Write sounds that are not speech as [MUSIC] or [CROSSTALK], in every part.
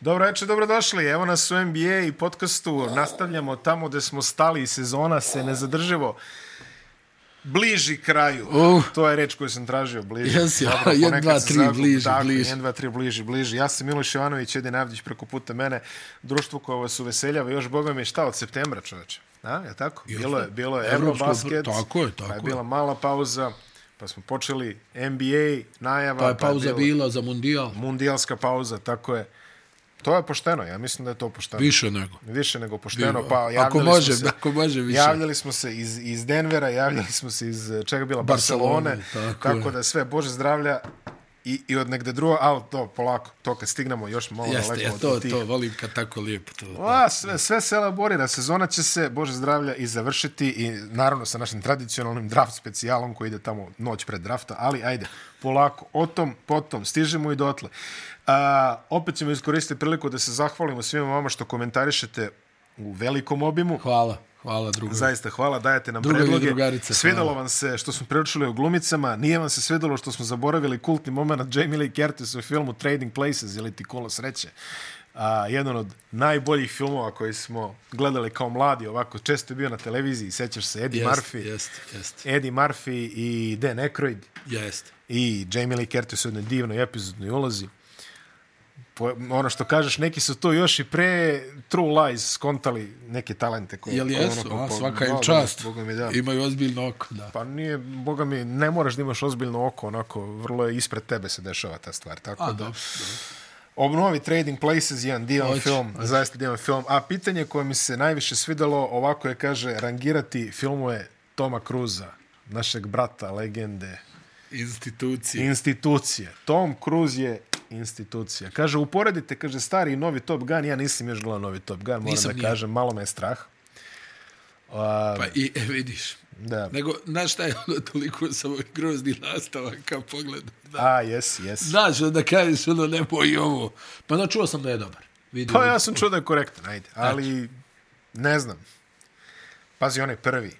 Dobro večer, dobrodošli. Evo nas u NBA i podcastu. Nastavljamo tamo gde smo stali. Sezona se nezadrživo bliži kraju. Uh. To je reč koju sam tražio, bliži. Jesi, Dobro, a, jedan, ponekad dva, se tri, zagubim. bliži, Tako, bliži. jedan, dva, tri, bliži, bliži. Ja sam Miloš Jovanović, Edin Avdić preko puta mene. Društvo koje vas uveseljava još, boga mi, šta od septembra, čoveče? A, je tako? Bilo je, bilo je Evropsko- Eurobasket. tako je, tako Pa je je. bila mala pauza, pa smo počeli NBA, najava. Pa je pauza bila bila za mundijal. Mundijalska pauza, tako je. To je pošteno, ja mislim da je to pošteno. Više nego. Više nego pošteno, Bi- pa ako javljali može, smo se, ako može više. Javljali smo se iz, iz Denvera, javljali smo se iz eh, čega je bila Barcelone, Barcelone, Barcelone tako tako, tako je. da sve, Bože zdravlja i, i od negde drugo, ali to polako, to kad stignemo još malo Jeste, daleko ja od to, tih. to, volim kad tako lijepo to. A, sve, sve se elaborira, sezona će se, Bože zdravlja, i završiti i naravno sa našim tradicionalnim draft specijalom koji ide tamo noć pred drafta, ali ajde, polako, o tom, potom, stižemo i dotle. A, opet ćemo iskoristiti priliku da se zahvalimo svima vama što komentarišete u velikom obimu. Hvala, hvala drugo. Zaista hvala, dajete nam Drugovi i predloge. drugarice, svidalo hvala. vam se što smo preučili o glumicama, nije vam se svidalo što smo zaboravili kultni moment Jamie Lee Curtis u filmu Trading Places ili Ti kolo sreće. A, jedan od najboljih filmova koji smo gledali kao mladi, ovako često je bio na televiziji, sećaš se, Eddie Jeste, Murphy. Jeste, jeste, Eddie Murphy i Dan Aykroyd jeste. i Jamie Lee Curtis u jednoj divnoj epizodnoj ulozi. Po, ono što kažeš, neki su to još i pre True Lies skontali neke talente. Koje, Jel koje ono jesu? kao A, po- svaka im Boga mi- čast. Boga mi, da. Imaju ozbiljno oko, da. Pa nije, boga mi, ne moraš da imaš ozbiljno oko, onako, vrlo je ispred tebe se dešava ta stvar, tako A, da. dobro, dobro. Obnovi Trading Places, jedan divan Hoće, film, zaista divan film, a pitanje koje mi se najviše svidalo, ovako je, kaže, rangirati filmove Toma Cruza, našeg brata, legende, Institucije. institucije. Tom Cruise je institucija. Kaže, uporedite, kaže, stari i novi Top Gun, ja nisam još gledao novi Top Gun, moram Nisam da ni ja. kažem, malo me je strah. Pa i, e, vidiš. Da. Nego, znaš šta je ono toliko samo grozni nastavak kad pogledam. A, jes, jes. Znaš, da kažeš ono, nemoj i ovo. Pa da, čuo sam da je dobar. Vidio. Pa ja sam čuo da je korektan, ajde. Ali, ne znam. Pazi, on je prvi.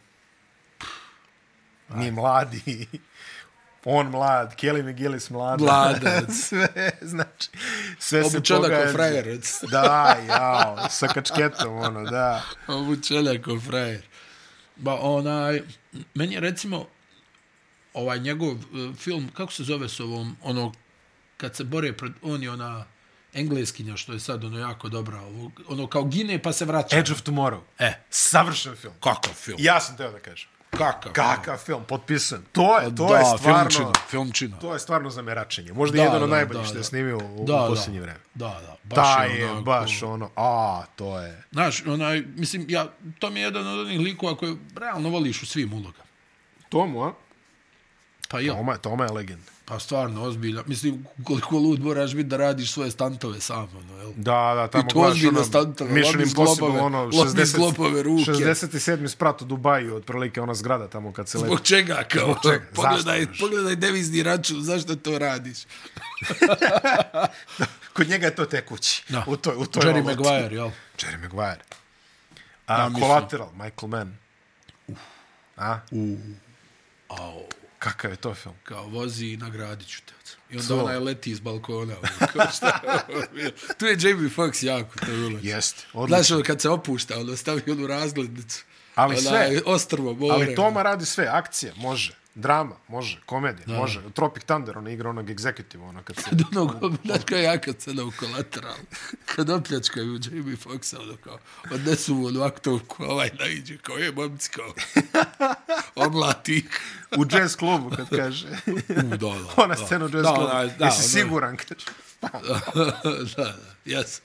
Mi mladi. [LAUGHS] On mlad, Kelly McGillis mlada. Mlada. [LAUGHS] sve, znači, sve se Obučena ko pogađa. frajer. Da, jao, sa kačketom, ono, da. Obučena ko frajer. Ba, onaj, meni je recimo ovaj njegov eh, film, kako se zove s ovom, ono, kad se bore pred, on je ona engleskinja, što je sad ono jako dobra, ovo, ono kao gine pa se vraća. Edge of Tomorrow. E. Savršen film. kakav film? Ja sam teo da kažem. kakav? Kakav film, potpisan. To je, to Pa da, je stvarno... filmčina, filmčina. To je stvarno za meračenje. Možda Da, jedan od da, najboljih da, što je da. snimio u, Da, u da. posljednje vreme. Da, da, baš Ta je je onako- baš ono, a, to je. Znaš, onaj, mislim, ja, to mi je jedan od onih likova koje realno voliš u svim ulogama. Tomu, a? Pa jel, Toma, Toma je legend. pa stvarno, ozbiljno. Mislim, koliko lud moraš biti da radiš svoje stantove sam, ono, jel? Da, da, tamo ono I to ozbiljno stantove, Mission lomi Impossible, zglobove, ono, lomi 60, zglobove ruke. 67. sprat u Dubaju, otprilike ona zgrada tamo kad se Zbog leti. čega, kao? Zbog čega? Pogledaj, Zašto, znaš? pogledaj devizni račun, zašto to radiš? Kod njega je to tekući. Da. U toj, u toj Jerry valuti. Maguire, jel? Jerry Maguire. A, Da, mislim. Collateral, Michael Mann. A? Kakav je to film? Kao, vozi i nagradit ću te. I onda To. so. onaj leti iz balkona. ono, Kao šta je ovo bilo? tu je Jamie Foxx jako, to je bilo. Jeste, Znaš, odlično. ono, kad se opušta, ono, stavi onu razglednicu. Ali Onaj, sve- Ostrvo, more. Ali Toma radi sve, akcije, može. Drama, može. Komedija, može. Tropic Thunder, ona igra onog executive, ono kad [LAUGHS] se... Do onog, znaš kao jaka cena u kolateralu. Kad opljačkaju Jamie Foxa, ono kao, odnesu mu onu aktovku, a ovaj naiđe, kao je momci, kao, omlati ih. u jazz klubu, kad [LAUGHS] kaže. U, da, da, Ona scena u jazz Da, ono- klubu. onaj, da, Jesi onaj. siguran, kaže. da, [LAUGHS] da, jes.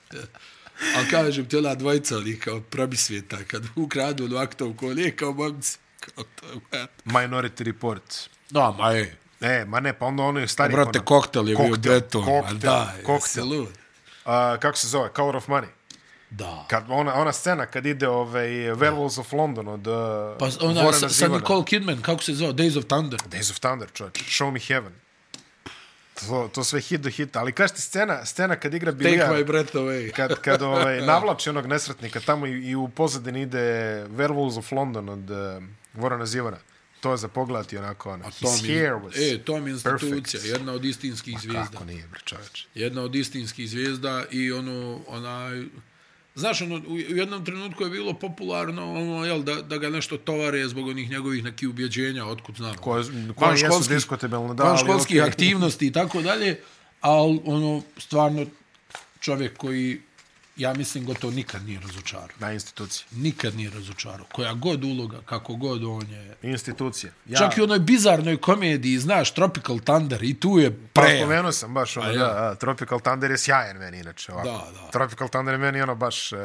A kažem ti, ona dvojica, oni kao pravi svijeta, kad ukradu onu aktovku, on je kao momci, kao to je moja. Minority Report. No, ma je, E, ma ne, pa onda ono je stari... brate, ono- koktel je bio Koktel, beton, ma koktel, da, jesi koktel. lud. A, kako se zove? Color of Money. Da. Kad ona, ona scena kad ide ovaj Werewolves of London od eh, Pa ona sa, sa Nicole Kidman, kako se zove, Days of Thunder. Days of Thunder, čovječ. Show me heaven. To, to sve hit do hita. Ali kažete, scena, scena kad igra Take bilijar... my breath away. kad, kad [LAUGHS] ovaj, navlači onog nesretnika tamo i, i u pozadini ide Werewolves of London od uh, Vorana eh, Zivana. to za pogledati onako ono. A His Tom, hair je, was e, Tom je institucija, perfect. jedna od istinskih zvijezda. Kako nije, bre, čoveč. Jedna od istinskih zvijezda i ono, onaj... Znaš, ono, u u jednom trenutku je bilo popularno ono, jel, da, da ga nešto tovare zbog onih njegovih nekih ubjeđenja, otkud znam. Koje, koje jesu Vanškolskih- diskutabilne, da, ali... vanškolskih okej. aktivnosti i tako dalje, ali ono, stvarno čovjek koji, ja mislim, gotovo nikad nije razočarao. Na institucije. Nikad nije razočarao. Koja god uloga, kako god on je. Institucije. Ja, Ja. Čak i u onoj bizarnoj komediji, znaš, Tropical Thunder, i tu je Pa, pre. spomenuo sam baš ono, A, da, ja. da, Tropical Thunder je sjajan meni inače. Ovako. Da, da. Tropical Thunder je meni ono baš... E,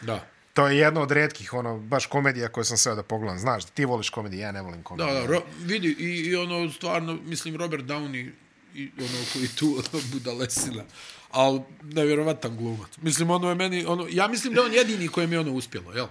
Da. to je jedno od redkih ono, baš komedija koje sam sve da pogledam. Znaš, da ti voliš komedije, ja ne volim Da, komedije. da, ro, vidi, i, i ono, stvarno, mislim, Robert Downey, i ono koji tu ono, budalesina, ali nevjerovatan glumac. Mislim, ono je meni, ono, ja mislim da je on jedini kojem je ono uspjelo, jel?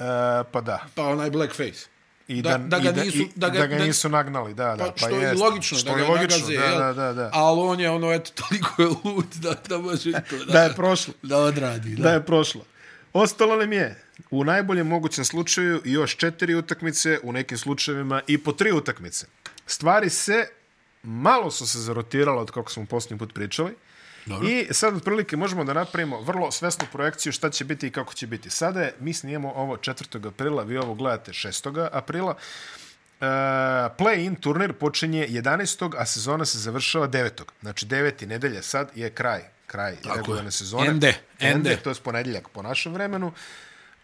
E, pa da. Pa onaj blackface. I da, da, ga, nisu, i, da, ga, da ga nisu nagnali, da, da. Pa, Pa, što je jest. logično, što da ga je logično, nagaze, da, jel? da, da, da. Ali on je ono, eto, [LAUGHS] toliko je lud da, da može to da, Da je prošlo. da odradi. Da. Da da je prošlo. Ostalo nam je u najboljem mogućem slučaju još četiri utakmice, u nekim slučajevima i po tri utakmice. Stvari se malo su se zarotirale od kako smo posljednji put pričali. Dobro. I sad otprilike možemo da napravimo vrlo svesnu projekciju šta će biti i kako će biti. Sada je, mi snijemo ovo 4. aprila, vi ovo gledate 6. aprila. E, play-in turnir počinje 11. a sezona se završava 9. Znači 9. nedelje sad je kraj kraj regularne sezone. Ende, ende. To je ponedjeljak po našem vremenu.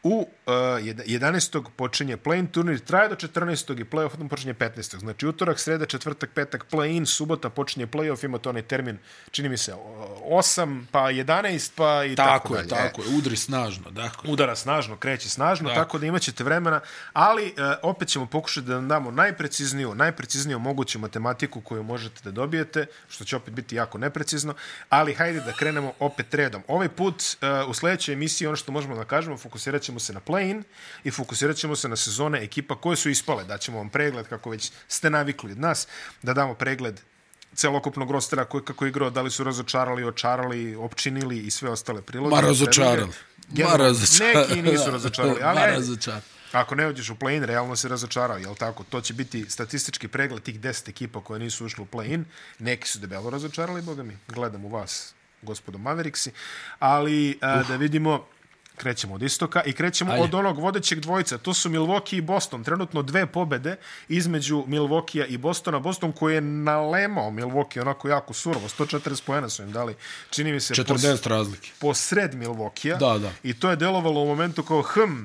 U uh, 11. počinje play-in turnir, traje do 14. i play-off potom počinje 15. Znači utorak, sreda, četvrtak, petak, play-in, subota počinje play-off, ima to onaj termin, čini mi se, o- 8, pa 11, pa i tako, Tako je, dalje. E, tako je, udri snažno, tako je. udara snažno, kreće snažno, tako, tako da imaćete vremena, ali e, opet ćemo pokušati da vam damo najprecizniju, najprecizniju moguću matematiku koju možete da dobijete, što će opet biti jako neprecizno, ali hajde da krenemo opet redom. Ovaj put e, u sljedećoj emisiji ono što možemo da kažemo, fokusirat ćemo se na play-in i fokusirat ćemo se na sezone ekipa koje su ispale. Daćemo vam pregled, kako već ste navikli od nas, da damo pregled celokupnog rostera koji kako je igrao, da li su razočarali, očarali, opčinili i sve ostale priloge. Ma razočarali. Ma Generalno, razočarali. Neki nisu razočarali, ali [LAUGHS] Ma ajde, razočarali. ako ne uđeš u play-in, realno si razočarao, jel tako? To će biti statistički pregled tih 10 ekipa koje nisu ušli u play-in. Neki su debelo razočarali, boga mi, gledam u vas, gospodo Maveriksi, ali a, da vidimo Krećemo od istoka i krećemo Ajde. od onog vodećeg dvojica. To su Milwaukee i Boston. Trenutno dve pobede između Milwaukee i Bostona. Boston koji je nalemao Milwaukee onako jako surovo. 140 poena su im dali. Čini mi se pos- 40 razlike. posred Milwaukee. Da, da. I to je delovalo u momentu kao hm,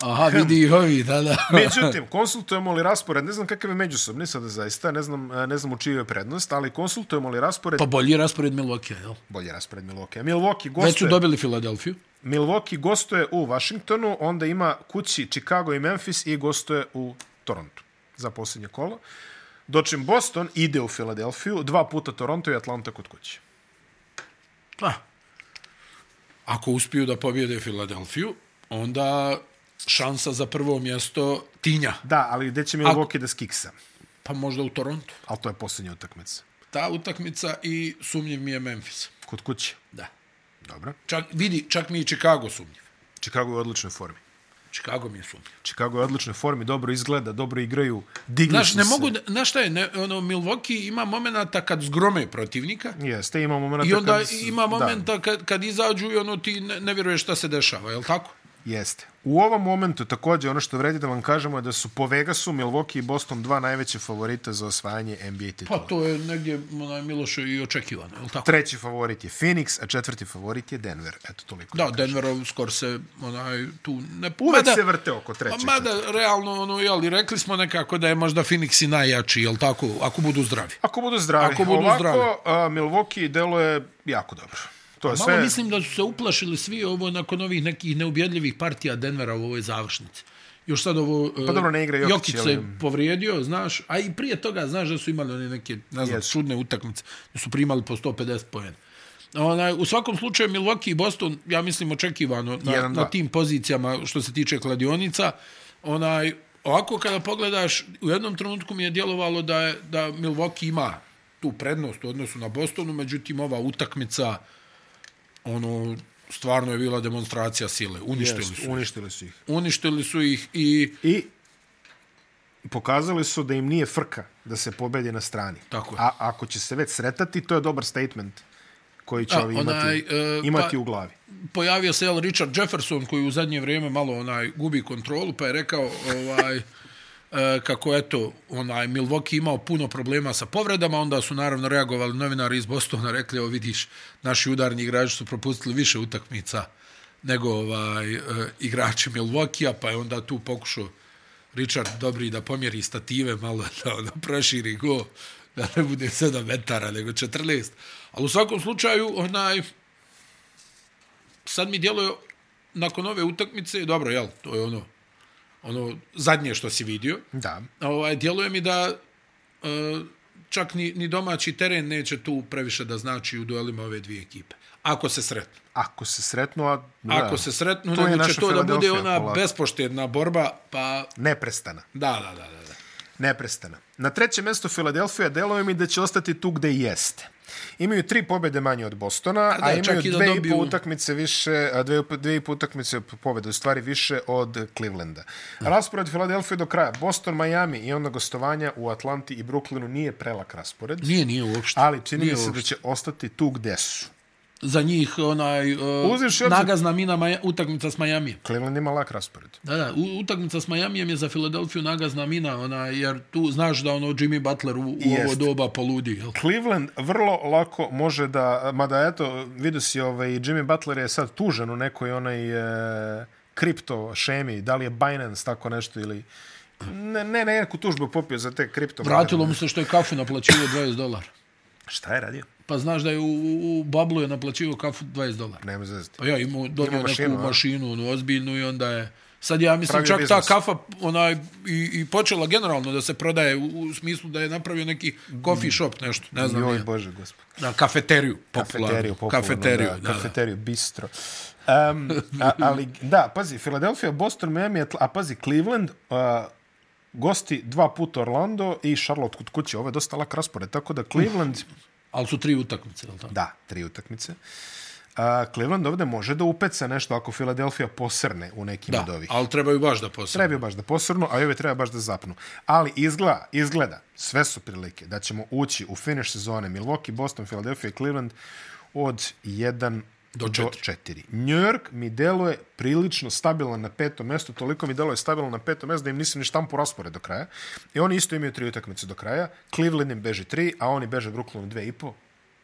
Aha, vidi i ovi, da, [LAUGHS] da. Međutim, konsultujemo li raspored, ne znam kakav je međusobni sada zaista, ne znam, e, ne znam u čiju je prednost, ali konsultujemo li raspored, Pa bolji raspored Milwaukee, jel? bolje raspored Milwaukee. Milwaukee Već su gostuje, dobili Filadelfiju. Milwaukee gostuje u Washingtonu, onda ima kući Chicago i Memphis i gostuje u Torontu za posljednje kolo. Dočim Boston ide u Filadelfiju, dva puta Toronto i Atlanta kod kuće. Pa. Ako uspiju da pobjede Filadelfiju, onda šansa za prvo mjesto tinja. Da, ali gdje će Milwaukee da skiksa? Pa možda u Torontu. Ali to je posljednja utakmica. Ta utakmica i sumnjiv mi je Memphis. Kod kuće. Da. Dobro. Čak, vidi, čak mi i Chicago sumnjiv. Chicago je u odličnoj formi. Chicago mi je sumnjiv. Chicago je u odličnoj formi, dobro izgleda, dobro igraju, digli Znaš, su ne se. mogu, da- znaš šta je, ne, ono, Milwaukee ima momenata kad zgrome protivnika Jeste, ima momenta i onda kad s- ima momenta kad, kad izađu i ono ti ne, ne vjeruješ šta se dešava, je li tako? Da, jeste. U ovom momentu također ono što vredi da vam kažemo je da su po Vegasu, Milwaukee i Boston dva najveće favorita za osvajanje NBA Pa titula. to je negdje, onaj, Milošo, i očekivano, je li tako? Treći favorit je Phoenix, a četvrti favorit je Denver. Eto toliko. Da, Denverov skor se onaj, tu ne... Uvek mada- se vrte oko trećeg. Mada, realno, ono, jeli, rekli smo nekako da je možda Phoenix i najjači, jel tako, ako budu zdravi. Ako budu zdravi. Ako budu Ovako, zdravi. A, Milwaukee deluje jako dobro. To je Malo sve... mislim da su se uplašili svi ovo nakon ovih nekih neubjedljivih partija Denvera u ovoj završnici. Još sad ovo... Pa dobro, ne igra Jokić, Jokić se ali- povrijedio, znaš, a i prije toga, znaš da su imali one neke, ne znam, Jesu. čudne utakmice, da su primali po 150 pojena. Onaj, u svakom slučaju Milwaukee i Boston, ja mislim, očekivano na, Jedan, na dva. tim pozicijama što se tiče kladionica. Onaj, ovako kada pogledaš, u jednom trenutku mi je djelovalo da, je, da Milwaukee ima tu prednost u odnosu na Bostonu, međutim ova utakmica ono stvarno je bila demonstracija sile. Uništili Jest, su. ih. uništili su ih. Uništili su ih i I pokazali su da im nije frka da se pobedi na strani. Tako je. A ako će se već sretati, to je dobar statement koji će A, ovi imati, onaj, e, imati pa- u glavi. pojavio se jel, Richard Jefferson koji u zadnje vrijeme malo onaj gubi kontrolu pa je rekao ovaj e, kako eto onaj Milwaukee imao puno problema sa povredama onda su naravno reagovali novinari iz Bostona rekli evo vidiš naši udarni igrači su propustili više utakmica nego ovaj e, igrači Milwaukee pa je onda tu pokušao Richard Dobri da pomjeri stative malo [LAUGHS] da ono proširi go da ne bude 7 metara nego 14 ali u svakom slučaju onaj sad mi djeluje nakon ove utakmice, dobro, jel, to je ono, ono zadnje što si vidio, Da. ovaj, djeluje mi da e, čak ni, ni domaći teren neće tu previše da znači u duelima ove dvije ekipe. Ako se sretnu. Ako se sretnu, a... da, Ako se sretnu, To je nego će naša to da bude Filadelfija ona polako. bespoštedna borba, pa Neprestana. da, da, da, da. da. Neprestana. Na trećem mjestu Filadelfija deluje mi da će ostati tu gde i jeste. Imaju tri pobjede manje od Bostona, a, da, imaju čak i da dve i dobiju- po utakmice više, a dve, dve i po utakmice pobjede, u stvari više od Clevelanda. Raspored Filadelfije do kraja. Boston, Miami i onda gostovanja u Atlanti i Brooklynu nije prelak raspored, Nije, nije uopšte. ali čini mi Nije se da će ostati tu gde su. Za njih onaj uh, Uzevši obzir- nagazna mina Maja, utakmica s Majamijem. Cleveland ima lak raspored. Da, da, u- utakmica s Majamijem je za Filadelfiju nagazna mina, ona, jer tu znaš da ono Jimmy Butler u, u ovo Jest. doba poludi, jel? Cleveland vrlo lako može da, mada eto, vidio si ovaj, Jimmy Butler je sad tužen u nekoj onaj e, kripto šemi, da li je Binance tako nešto ili... Ne, ne, ne, neku tužbu je popio za te kripto. Vratilo mu se što je kafu naplaćivao 20 dolara. Šta je radio? Pa znaš da je u, u, u bablu je naplaćivao kafu 20 dolara. Nema zvezati. Pa ja imao, donio Imao neku mašinu, mašinu, a? mašinu onu, ozbiljnu i onda je... Sad ja mislim Pravio čak biznis. ta kafa onaj, i, i počela generalno da se prodaje u, u smislu da je napravio neki coffee shop nešto, ne znam. Joj, Joj, Bože, gospod. da, kafeteriju popularnu. Kafeteriju, popularno, kafeteriju, da, da, da. kafeteriju, bistro. Um, a, ali, da, pazi, Filadelfija, Boston, Miami, Atl- a pazi, Cleveland, uh, gosti dva puta Orlando i Charlotte kod kuće. Ovo je dosta lak raspored, tako da [LAUGHS] Cleveland... Ali su tri utakmice, jel tako? Da, tri utakmice. A, Cleveland ovde može da upeca nešto ako Filadelfija posrne u nekim od Da, ovih. ali trebaju baš da posebno. Treba baš da posrnu, a ove treba baš da zapnu. Ali izgleda, izgleda, sve su prilike da ćemo ući u finish sezone Milwaukee, Boston, Philadelphia i Cleveland od 1 do 4. New York mi deluje prilično stabilan na petom mestu, toliko mi deluje stabilan na petom mestu da im nisam ni štampu raspored do kraja. I oni isto imaju tri utakmice do kraja. Cleveland im beži tri, a oni beže Brooklynu dve i po.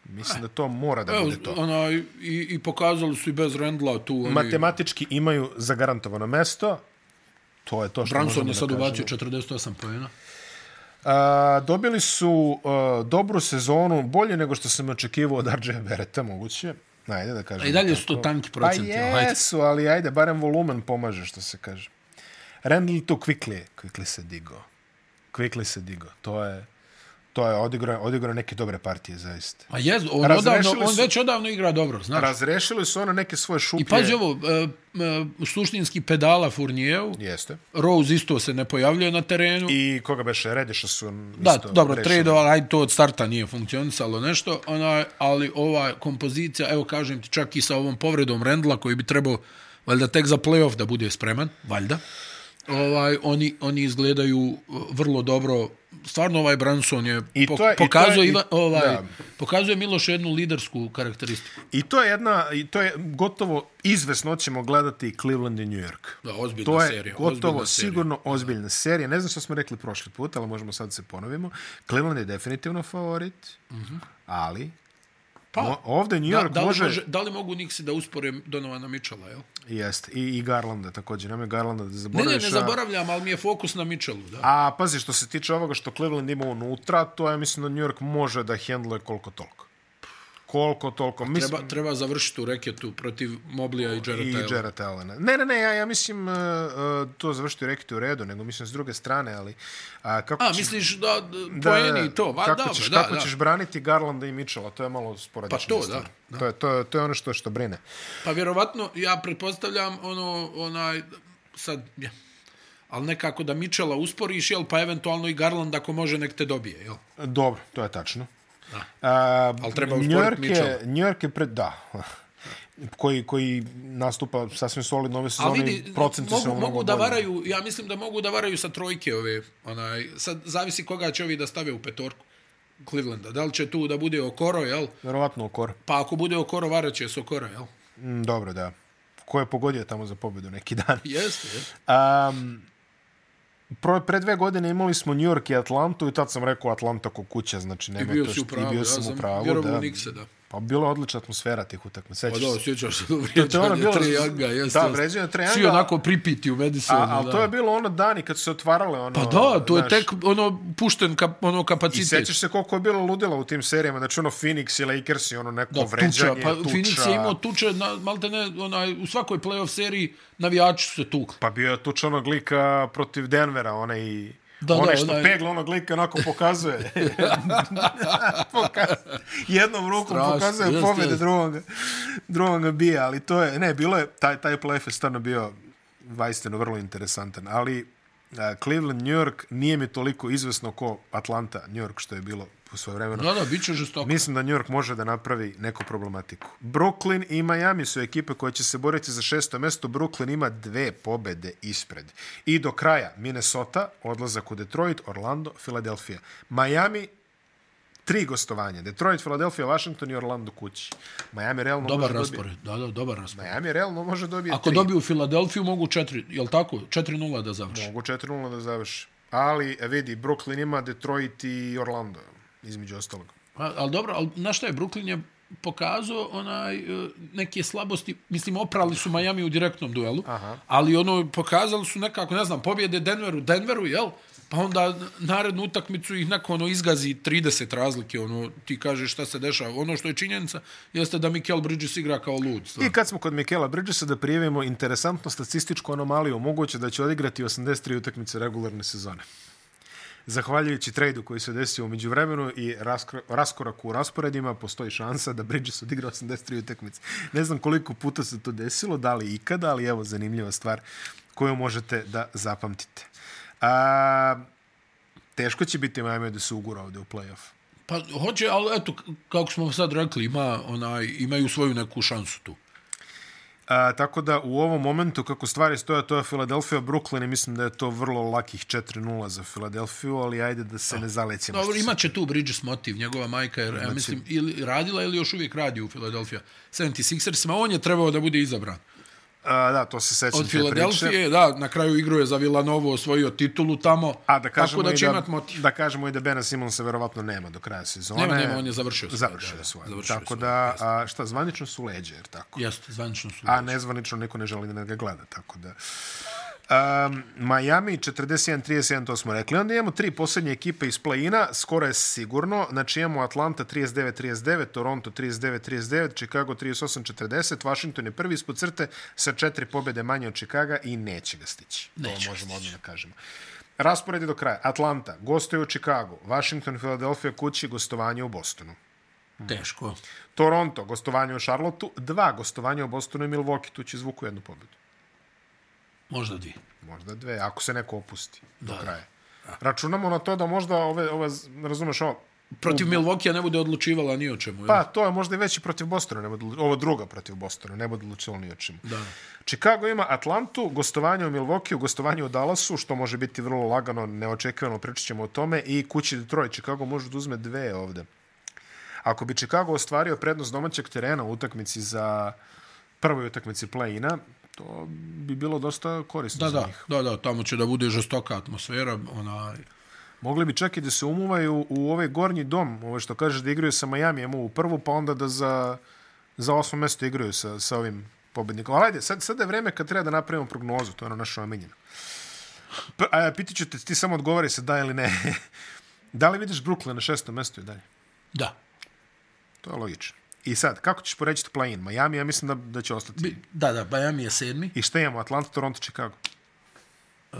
Mislim da to mora da Evo, bude to. ona, i, i pokazali su i bez Rendla tu. Oni, Matematički imaju zagarantovano mesto. To je to što Branson možemo je da sad kažemo. ubacio 48 pojena. A, dobili su a, dobru sezonu, bolje nego što sam očekivao od RJ Bereta, moguće. Ajde da kažem. I dalje su to tanki procenti. jel? Pa Ajde. jesu, ali ajde, barem volumen pomaže, što se kaže. Randall tu Quickly, Quickly se digo. Quickly se digo. To je, to je odigrao, odigrao neke dobre partije, zaista. Ma jez, on, Razrešili odavno, on su- već odavno igra dobro, znaš. Razrešili su ono neke svoje šuplje. I pazi ovo, e, e, suštinski pedala Furnijevu, Jeste. Rose isto se ne pojavljuje na terenu. I koga beše, Rediša su Da, dobro, rešili. tradeoval, ajde to od starta nije funkcionisalo nešto, onaj, ali ova kompozicija, evo kažem ti, čak i sa ovom povredom Rendla koji bi trebao valjda tek za playoff da bude spreman, valjda. Ovaj, oni, oni izgledaju eh, vrlo dobro. Stvarno ovaj Branson je, I po- to je- i to je- pokazuje, i- Iva- ovaj, da. pokazuje Miloš jednu lidersku karakteristiku. I to je jedna, i to je gotovo izvesno ćemo gledati Cleveland i New York. Da, ozbiljna To je serija. gotovo ozbiljna serija. sigurno ozbiljna serija. Ne znam što smo rekli prošli put, ali možemo sad da se ponovimo. Cleveland je definitivno favorit, ali Mhm. Pa, mo- ovde New da, York da, li može... može, da li mogu Nixi da uspore Donovana Mitchella, jel? Jeste, i, i Garlanda također. Nemoj Garlanda da Ne, ne, zaboraviš. ne a- zaboravljam, ali mi je fokus na Mitchellu, da. A pazi, što se tiče ovoga što Cleveland ima unutra, to ja mislim da New York može da hendluje koliko toliko. Koliko toliko. Mislim, Treba, treba završiti u reketu protiv Moblija i i Jarrett Taylor. Jarrett Allena. Ne, ne, ne, ja, ja mislim uh, uh, to završiti rekti u redu, nego mislim s druge strane, ali a, kako A, će- misliš da, da poeni i to? Va, kako dobro, ćeš, da, kako da. ćeš braniti Garlanda i Mitchella, to je malo sporadično. Pa to, da. To je, to, je, to je ono što, što brine. Pa vjerovatno, ja pretpostavljam ono, onaj, sad, ja, ali nekako da Mitchella usporiš, jel, pa eventualno i Garland ako može nek te dobije, jel? Dobro, to je tačno. Da. A, Ali treba New usporiti York je, Mitchella. New York je pred... Da. koji, koji nastupa sasvim solidno ove A sezone vidi, i procenti mogu, se ono mogu da varaju, ja mislim da mogu da varaju sa trojke ove. Onaj, sad zavisi koga će ovi da stave u petorku Clevelanda. Da li će tu da bude Okoro, jel? Verovatno okor. Pa ako bude Okoro, varat će se Okoro, jel? Mm, dobro, da. Ko je pogodio tamo za pobjedu neki dan. Jeste, jeste. Um, pro, pre dve godine imali smo New York i Atlantu i tad sam rekao Atlanta ko kuća, znači nema Bio to si što, u pravu, i bio ja sam sam u pravu, vjerovao da. u Nikse, da. Pa bila je odlična atmosfera tih utakmica, Pa sećaš da, se. sjećaš se do vrijeđanja bilo- Trejanga, jeste. da, jeste. vrijeđanje Trae Svi Younga. onako pripiti u Madisonu, A, ali to je bilo ono dani kad su se otvarale ono... Pa da, to je znaš, tek ono pušten kap, ono I kapacitet. sećaš se koliko je bilo ludila u tim serijama, znači ono Phoenix i Lakers i ono neko Da, da, tuča, vređanje, pa tuča. Phoenix je imao tuče, na, malte ne, onaj, u svakoj playoff seriji navijači su se tukli. Pa bio je tuča onog lika protiv Denvera, onaj... Da, Da, da, one što onaj- onaj... pegla onog lika onako pokazuje. pokazuje. Jednom rukom Strašno, pokazuje jeste, pobjede, jeste. drugom ga, drugom ga bije, ali to je, ne, bilo je, taj, taj playoff je stvarno bio vajsteno vrlo interesantan, ali a, Cleveland, New York nije mi toliko izvesno ko Atlanta, New York što je bilo u svoje vremeno. Da, da, bit će žestoko. Mislim da New York može da napravi neku problematiku. Brooklyn i Miami su ekipe koje će se boriti za šesto mesto. Brooklyn ima dve pobede ispred. I do kraja Minnesota, odlazak u Detroit, Orlando, Filadelfija. Miami, tri gostovanja. Detroit, Filadelfija, Washington i Orlando kući. Miami realno Dobar može dobije... raspored, da, da, dobar raspored. Miami realno može dobije Ako tri. dobiju Filadelfiju, mogu 4, jel tako? 4-0 da završi. Mogu 4-0 da završi. Ali, e, vidi, Brooklyn ima Detroit i Orlando, između ostalog. A, ali Pa, dobro, ali na šta je, Brooklyn je pokazao onaj, e, neke slabosti, mislim, oprali su Miami u direktnom duelu, Aha. ali ono, pokazali su nekako, ne znam, pobjede Denveru, Denveru, jel? Pa onda narednu utakmicu ih neko ono izgazi 30 razlike, ono, ti kažeš šta se dešava. Ono što je činjenica jeste da Mikel Bridges igra kao lud. I stvarno. kad smo kod Mikela Bridgesa da prijevimo interesantnu statističku anomaliju, moguće da će odigrati 83 utakmice regularne sezone. Zahvaljujući trejdu koji se desio umeđu vremenu i raskro- raskoraku u rasporedima, postoji šansa da Bridges odigra 83 utakmice. Ne znam koliko puta se to desilo, da li ikada, ali evo zanimljiva stvar koju možete da zapamtite. A, teško će biti Miami da se ugura ovde u play-off. Pa hoće, ali eto, k- kako smo sad rekli, ima, onaj, imaju svoju neku šansu tu. A, tako da u ovom momentu kako stvari stoje, to je Filadelfija, Brooklyn i mislim da je to vrlo lakih 4-0 za Filadelfiju, ali ajde da se ne zalećemo. Dobro, što se- imaće tu Bridges motiv, njegova majka je, ja mislim, ili radila ili još uvijek radi u Philadelphia 76ersima, on je trebao da bude izabran. A, da, to se sećam Od te priče. Filadelfije, da, na kraju igru je za Villanovo osvojio titulu tamo, A da kažemo tako da će i imat motiv. da kažemo i da Bena Simonsa verovatno nema do kraja sezone. Nema, nema, on je završio svoje, da, Završio da, je svoje. završio tako svoje, da, a, šta, zvanično su leđe, jer tako? Jeste, zvanično su. A nezvanično niko ne želi da ga gleda, tako da... Um, Miami 41-37, to smo rekli. Onda imamo tri posljednje ekipe iz play-ina, skoro je sigurno. Znači imamo Atlanta 39-39, Toronto 39-39, Chicago 38-40, Washington je prvi ispod crte sa četiri pobjede manje od Chicaga i neće ga stići. Neće ga to možemo odmah da kažemo. Raspored je do kraja. Atlanta gostuje u Chicago, Washington, Philadelphia kući, gostovanje u Bostonu. Teško. Toronto, gostovanje u Charlotteu, dva gostovanja u Bostonu i Milwaukee, tu će zvuku jednu pobedu. Možda dvije. Možda dve, ako se neko opusti do Da. kraja. Računamo na to da možda ove, ove z- razumeš ovo, Protiv Milwaukee ne bude odlučivala ni o čemu. jel? pa to je možda i veći protiv Bostona, ne bude, odlu- ovo druga protiv Bostona, ne bude odlučilo ni o čemu. Da. Chicago ima Atlantu, gostovanje u Milwaukee, gostovanje u Dallasu, što može biti vrlo lagano, neočekivano, pričat ćemo o tome, i kući Detroit. Chicago može da uzme dve ovde. Ako bi Chicago ostvario prednost domaćeg terena u utakmici za prvoj utakmici play-ina, to bi bilo dosta korisno Da, za da, njih. da, da, tamo će da bude žestoka atmosfera, onaj, Mogli bi čak i da se umuvaju u ovaj gornji dom, ovo što kažeš da igraju sa Majamijem u prvu, pa onda da za, za osmo mesto igraju sa, sa ovim pobednikom. Ali ajde, sad, sad je vreme kad treba da napravimo prognozu, to je ono naše omenjeno. P- a, pitiću te, ti samo odgovari se da ili ne. [LAUGHS] da li vidiš Brooklyn na šestom mestu i dalje? da. To je logično. I sad, kako ćeš poreći play-in? Miami, ja mislim da, da će ostati. Bi- Da, da, Miami je sedmi. I šta imamo? Atlanta, Toronto, Chicago. E,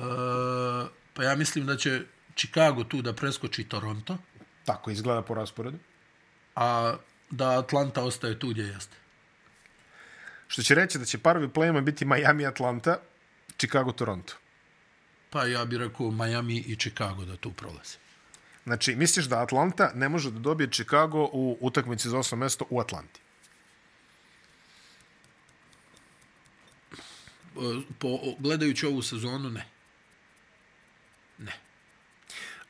pa ja mislim da će Chicago tu da preskoči Toronto, Tako izgleda po rasporedu. a da Atlanta ostaje tu gdje jeste. Što će reći da će parovi play-in biti Miami, Atlanta, Chicago, Toronto. Pa ja bih rekao Miami i Chicago da tu prolaze. Znači, misliš da Atlanta ne može da dobije Chicago u utakmici za osmo mesto u Atlanti? E, po, o- gledajući ovu sezonu, ne. Ne.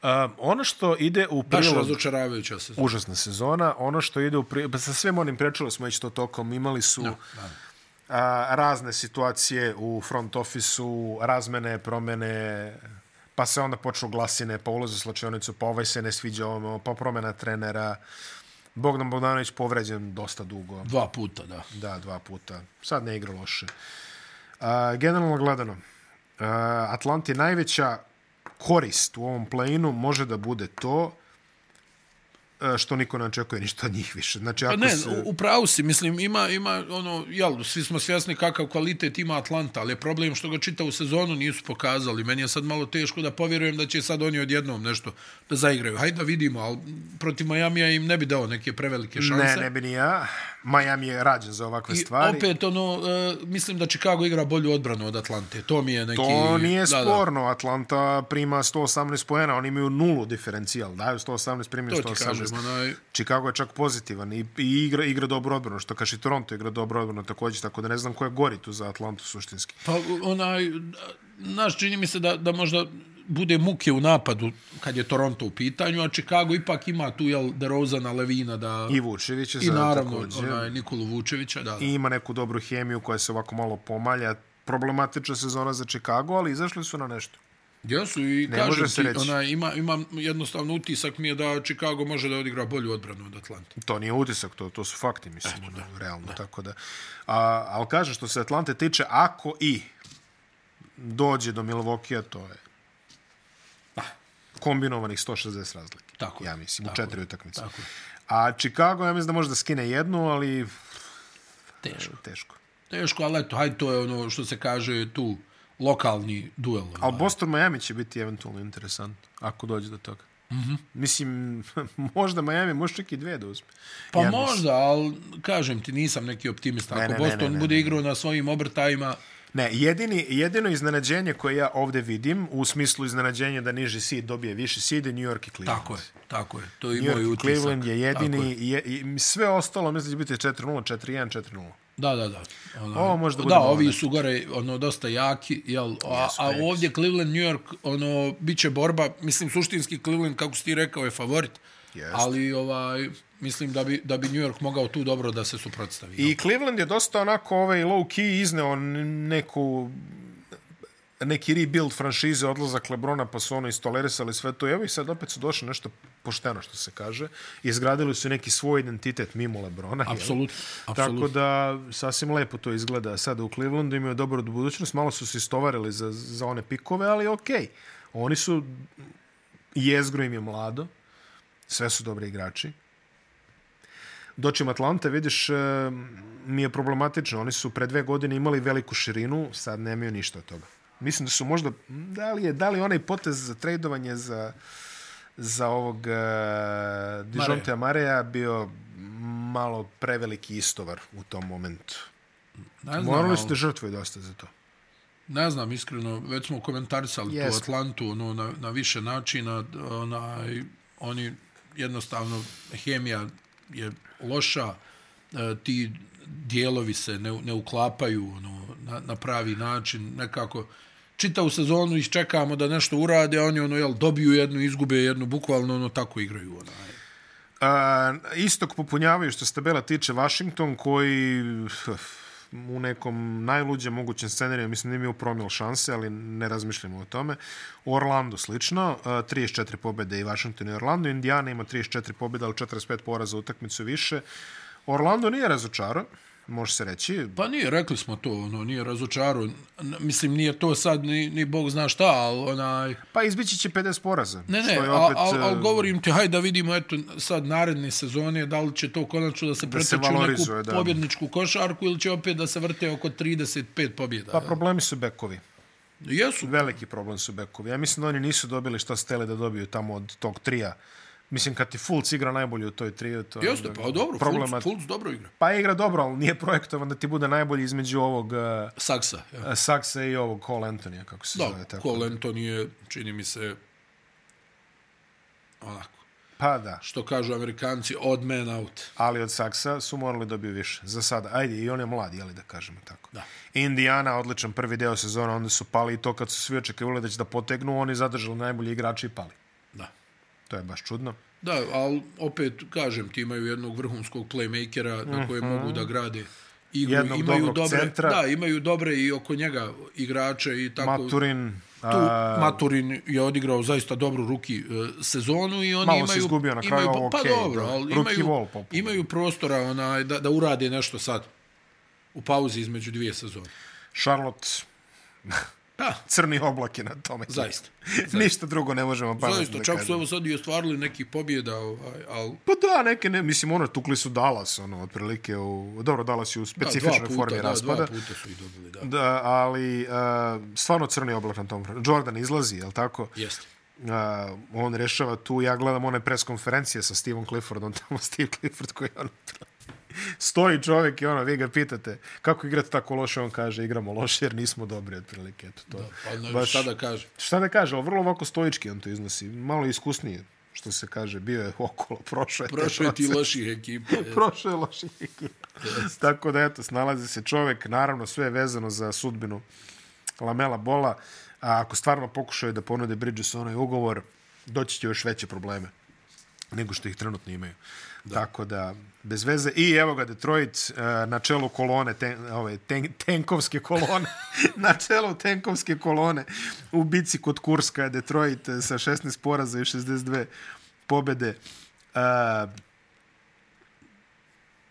Um, ono što ide u Baš prilog... razočaravajuća sezona. Užasna sezona. Ono što ide u prilog... Pa sa svim onim prečuli smo već to tokom. Imali su... No. Da. a, razne situacije u front ofisu, razmene, promene, pa se onda počnu glasine, pa ulaze u slačionicu, pa ovaj se ne sviđa ovome, pa promena trenera. Bogdan Bogdanović povređen dosta dugo, Dva puta, da. da, dva puta. Sad ne igra loše. A, generalno gledano, a, Atlanti najveća korist u ovom play-inu može da bude to e, što niko ne očekuje ništa od njih više. Znači, Pa ako ne, se... u, u pravu si, mislim, ima, ima ono, jel, svi smo svjesni kakav kvalitet ima Atlanta, ali je problem što ga čitavu sezonu nisu pokazali. Meni je sad malo teško da povjerujem da će sad oni odjednom nešto da zaigraju. Hajde da vidimo, ali protiv Majamija im ne bi dao neke prevelike šanse. Ne, ne bi ni ja. Miami je rađen za ovakve I stvari. opet, ono, e, mislim da Chicago igra bolju odbranu od Atlante. To mi je neki... To nije da, Da, sporno. Atlanta prima 118 poena, oni imaju nulu diferencijal. Daju 118, primaju to ti 118. kažem, onaj... Chicago je čak pozitivan i, i igra, igra dobro odbrano, što kaže i Toronto igra dobro odbrano također, tako da ne znam ko je gori tu za Atlantu suštinski. Pa onaj, naš čini mi se da, da možda bude muke u napadu kad je Toronto u pitanju, a Chicago ipak ima tu jel, DeRozana, Levina da, I Vučević je i sada naravno također. onaj, Nikolu Vučevića. Da, da. I ima neku dobru hemiju koja se ovako malo pomalja. Problematična sezona za Chicago, ali izašli su na nešto. Jesu i Ne kažem može se ti, reći. onaj, ima, ima jednostavno utisak mi je da Chicago može da odigra bolju odbranu od Atlante. To nije utisak, to, to su fakti, mislim, Eto, da, realno, da. tako da. A, ali kažem, što se Atlante tiče, ako i dođe do Milvokija, to je kombinovanih 160 razlike. Pa. Tako je, Ja mislim, u četiri utakmice. tako je. A Chicago, ja mislim da može da skine jednu, ali E, Teško. teško. Teško, ali eto, hajde, to je ono što se kaže tu lokalni duel. ono. Ali Boston Miami će biti eventualno interesant, ako dođe do toga. Mm Mhm. -hmm. Mislim, [LAUGHS] možda Miami, možda čak i dve da uzme. Pa Ja ja mislim. možda, ali kažem ti, nisam neki optimista. Ne, Ako ne, ne, Boston ne, ne, bude ne. igrao na svojim obrtajima, Ne, jedini, jedino iznenađenje koje ja ovde vidim, u smislu iznenađenja da niži seed dobije viši seed, je New York i Cleveland. tako je, tako je. To je i New moj York i utisak. Cleveland je Tako jedini, je. i sve ostalo mislim da će biti 4-0, 4-1, 4-0. Da, da, da. Ono, Ovo može da bude da malo ovi nešto. su gore ono dosta jaki, jel, a, Jesu, a jaki ovdje Cleveland, New York, ono, bit će borba, mislim, suštinski Cleveland, kako si ti rekao, je favorit, Jeste. ali ovaj, mislim da bi, da bi New York mogao tu dobro da se suprotstavi. jel? I Cleveland je dosta onako ovaj low key izneo n- neku neki rebuild franšize, odlazak Lebrona, pa su ono istolerisali sve to. I evo i sad opet su došli nešto pošteno, što se kaže. Izgradili su neki svoj identitet mimo Lebrona. jel? apsolutno, apsolutno. Tako da, sasvim lepo to izgleda sada u Clevelandu, imaju dobro do budućnost, malo su se istovarili za, za one pikove, ali okej. Okay. Oni su, jezgro im je mlado, sve su dobri igrači. Dočim Atlante, vidiš, e, mi je problematično. Oni su pre dve godine imali veliku širinu, sad nemaju ništa od toga. Mislim da su možda, da li je, da li je onaj potez za trejdovanje za, za ovog uh, Dijontea Mareja bio malo preveliki istovar u tom momentu. ne znam, Morali ali- ste žrtve dosta za to. Ne znam, iskreno, već smo komentarisali tu Jesmo. Atlantu ono, na, na više načina. Onaj, oni jednostavno, hemija je loša, e, ti dijelovi se ne, ne uklapaju ono, na, na pravi način, nekako čitavu sezonu ih čekamo da nešto urade, a oni ono, jel, dobiju jednu, izgube jednu, bukvalno ono, tako igraju. Onaj. Uh, istok popunjavaju što se tabela tiče Washington koji uf, u nekom najluđem mogućem scenariju, mislim da imaju promil šanse, ali ne razmišljamo o tome. Orlando slično, uh, 34 pobjede i Washington i Orlando. Indiana ima 34 pobjede, ali 45 poraza u utakmicu više. Orlando nije razočarao, može se reći. Pa nije, rekli smo to, ono, nije razočaro. N- Mislim, nije to sad ni, ni Bog zna šta, ali onaj... Pa izbići će 50 poraza. Ne, ne, što je opet, opet, al, al, uh, govorim ti, hajde da vidimo eto, sad naredne sezone, da li će to konačno da se se pretoči u neku valorizuje, da. pobjedničku košarku ili će opet da se vrte oko 35 pobjeda. Pa Pa, problemi su bekovi. Jesu, Veliki problem su bekovi. Ja mislim da oni nisu dobili šta stele da dobiju tamo od tog trija. Mislim, kad ti Fulc igra najbolje u toj triju, to je jeste, onda pa dobro, problemat- Fultz, Fultz dobro igra. Pa igra dobro, ali nije projektovan da ti bude najbolji između ovog uh, Saksa, ja. Saksa i ovog Cole Antonija, kako se Da, zove. Tako. Cole Anthony je, čini mi se, onako, Pa da, što kažu amerikanci, odd man out. ali od Saksa su morali dobiju više. Za sada, ajde, i on je mlad, jeli da kažemo tako. Da. Indiana, odličan prvi deo sezona, onda su pali i to kad su svi očekivali da će da potegnu, oni zadržali najbolji igrači i pali. Da. To je baš čudno. Da, ali opet, kažem ti, imaju jednog vrhunskog playmakera na koje mogu da grade igru. Mhm. Jednog imaju dobrog dobre, centra. Da, imaju dobre i oko njega igrače i tako. Maturin, eh, Tu a, Maturin je odigrao zaista dobru ruki e, sezonu i oni Malo se imaju... izgubio na kraju, imaju, ali Pa okej, dobro, da. ali Rookie imaju, wall popunjen. imaju prostora onaj, da, da urade nešto sad. U pauzi između dvije sezone. Charlotte, Da, crni oblak je na tome. zaista. Ništa drugo ne možemo pametno Zaista, da čak su kažemo. evo sad i ostvarili neki pobjeda, ovaj, ali Pa da, neke ne, mislim, ono, tukli su Dallas, ono, otprilike u, dobro, Dallas je u da, dva specifičnoj puta, formi da, raspada. dva puta su ih dobili, da. Da, ali uh, stvarno crni oblak na tom. Jordan izlazi, je tako? Jeste. Uh, on rešava tu, ja gledam one pres konferencije sa Stevom Cliffordom, [LAUGHS] tamo Steve Clifford koji on stoji čovjek i ono, vi ga pitate kako igrate tako loše, on kaže igramo loše jer nismo dobri otprilike, eto to. Pa ne, Baš... šta da kažem. Šta da kaže, ali vrlo ovako stoički on to iznosi, malo iskusnije, što se kaže, bio je okolo, [LAUGHS] prošao je te Prošao je ti loših [LAUGHS] ekipa. je. prošao je loših ekipa. Tako da, eto, snalazi se čovek. Naravno, sve je vezano za sudbinu Lamela Bola. A ako stvarno pokušaju da ponude Bridges onaj ugovor, doći će još veće probleme nego što ih trenutno imaju. Da. Tako da, bez veze. I evo ga Detroit e, na čelu kolone, ten, ove, ten, tenkovske kolone, na čelu tenkovske kolone u bici kod Kurska je Detroit e, sa 16 poraza i 62 pobede. E,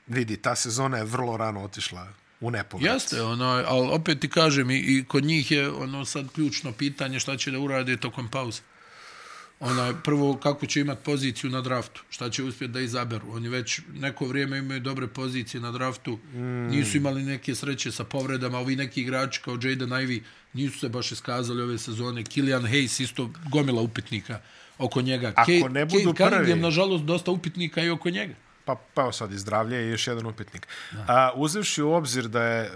vidi, ta sezona je vrlo rano otišla u nepogled. Jeste, ono, ali opet ti kažem, i, i kod njih je ono sad ključno pitanje šta će da urade tokom pauze. Onaj, prvo, kako će imati poziciju na draftu, šta će uspjeti da izaberu. Oni već neko vrijeme imaju dobre pozicije na draftu, mm. nisu imali neke sreće sa povredama, ovi neki igrači kao Jaden Ivey nisu se baš iskazali ove sezone. Kilian Hayes isto gomila upitnika oko njega. Ako ne budu Cade Cunningham, prvi. nažalost, dosta upitnika i oko njega. Pa, pa evo sad i zdravlje je još jedan upitnik. A, uzevši u obzir da je e,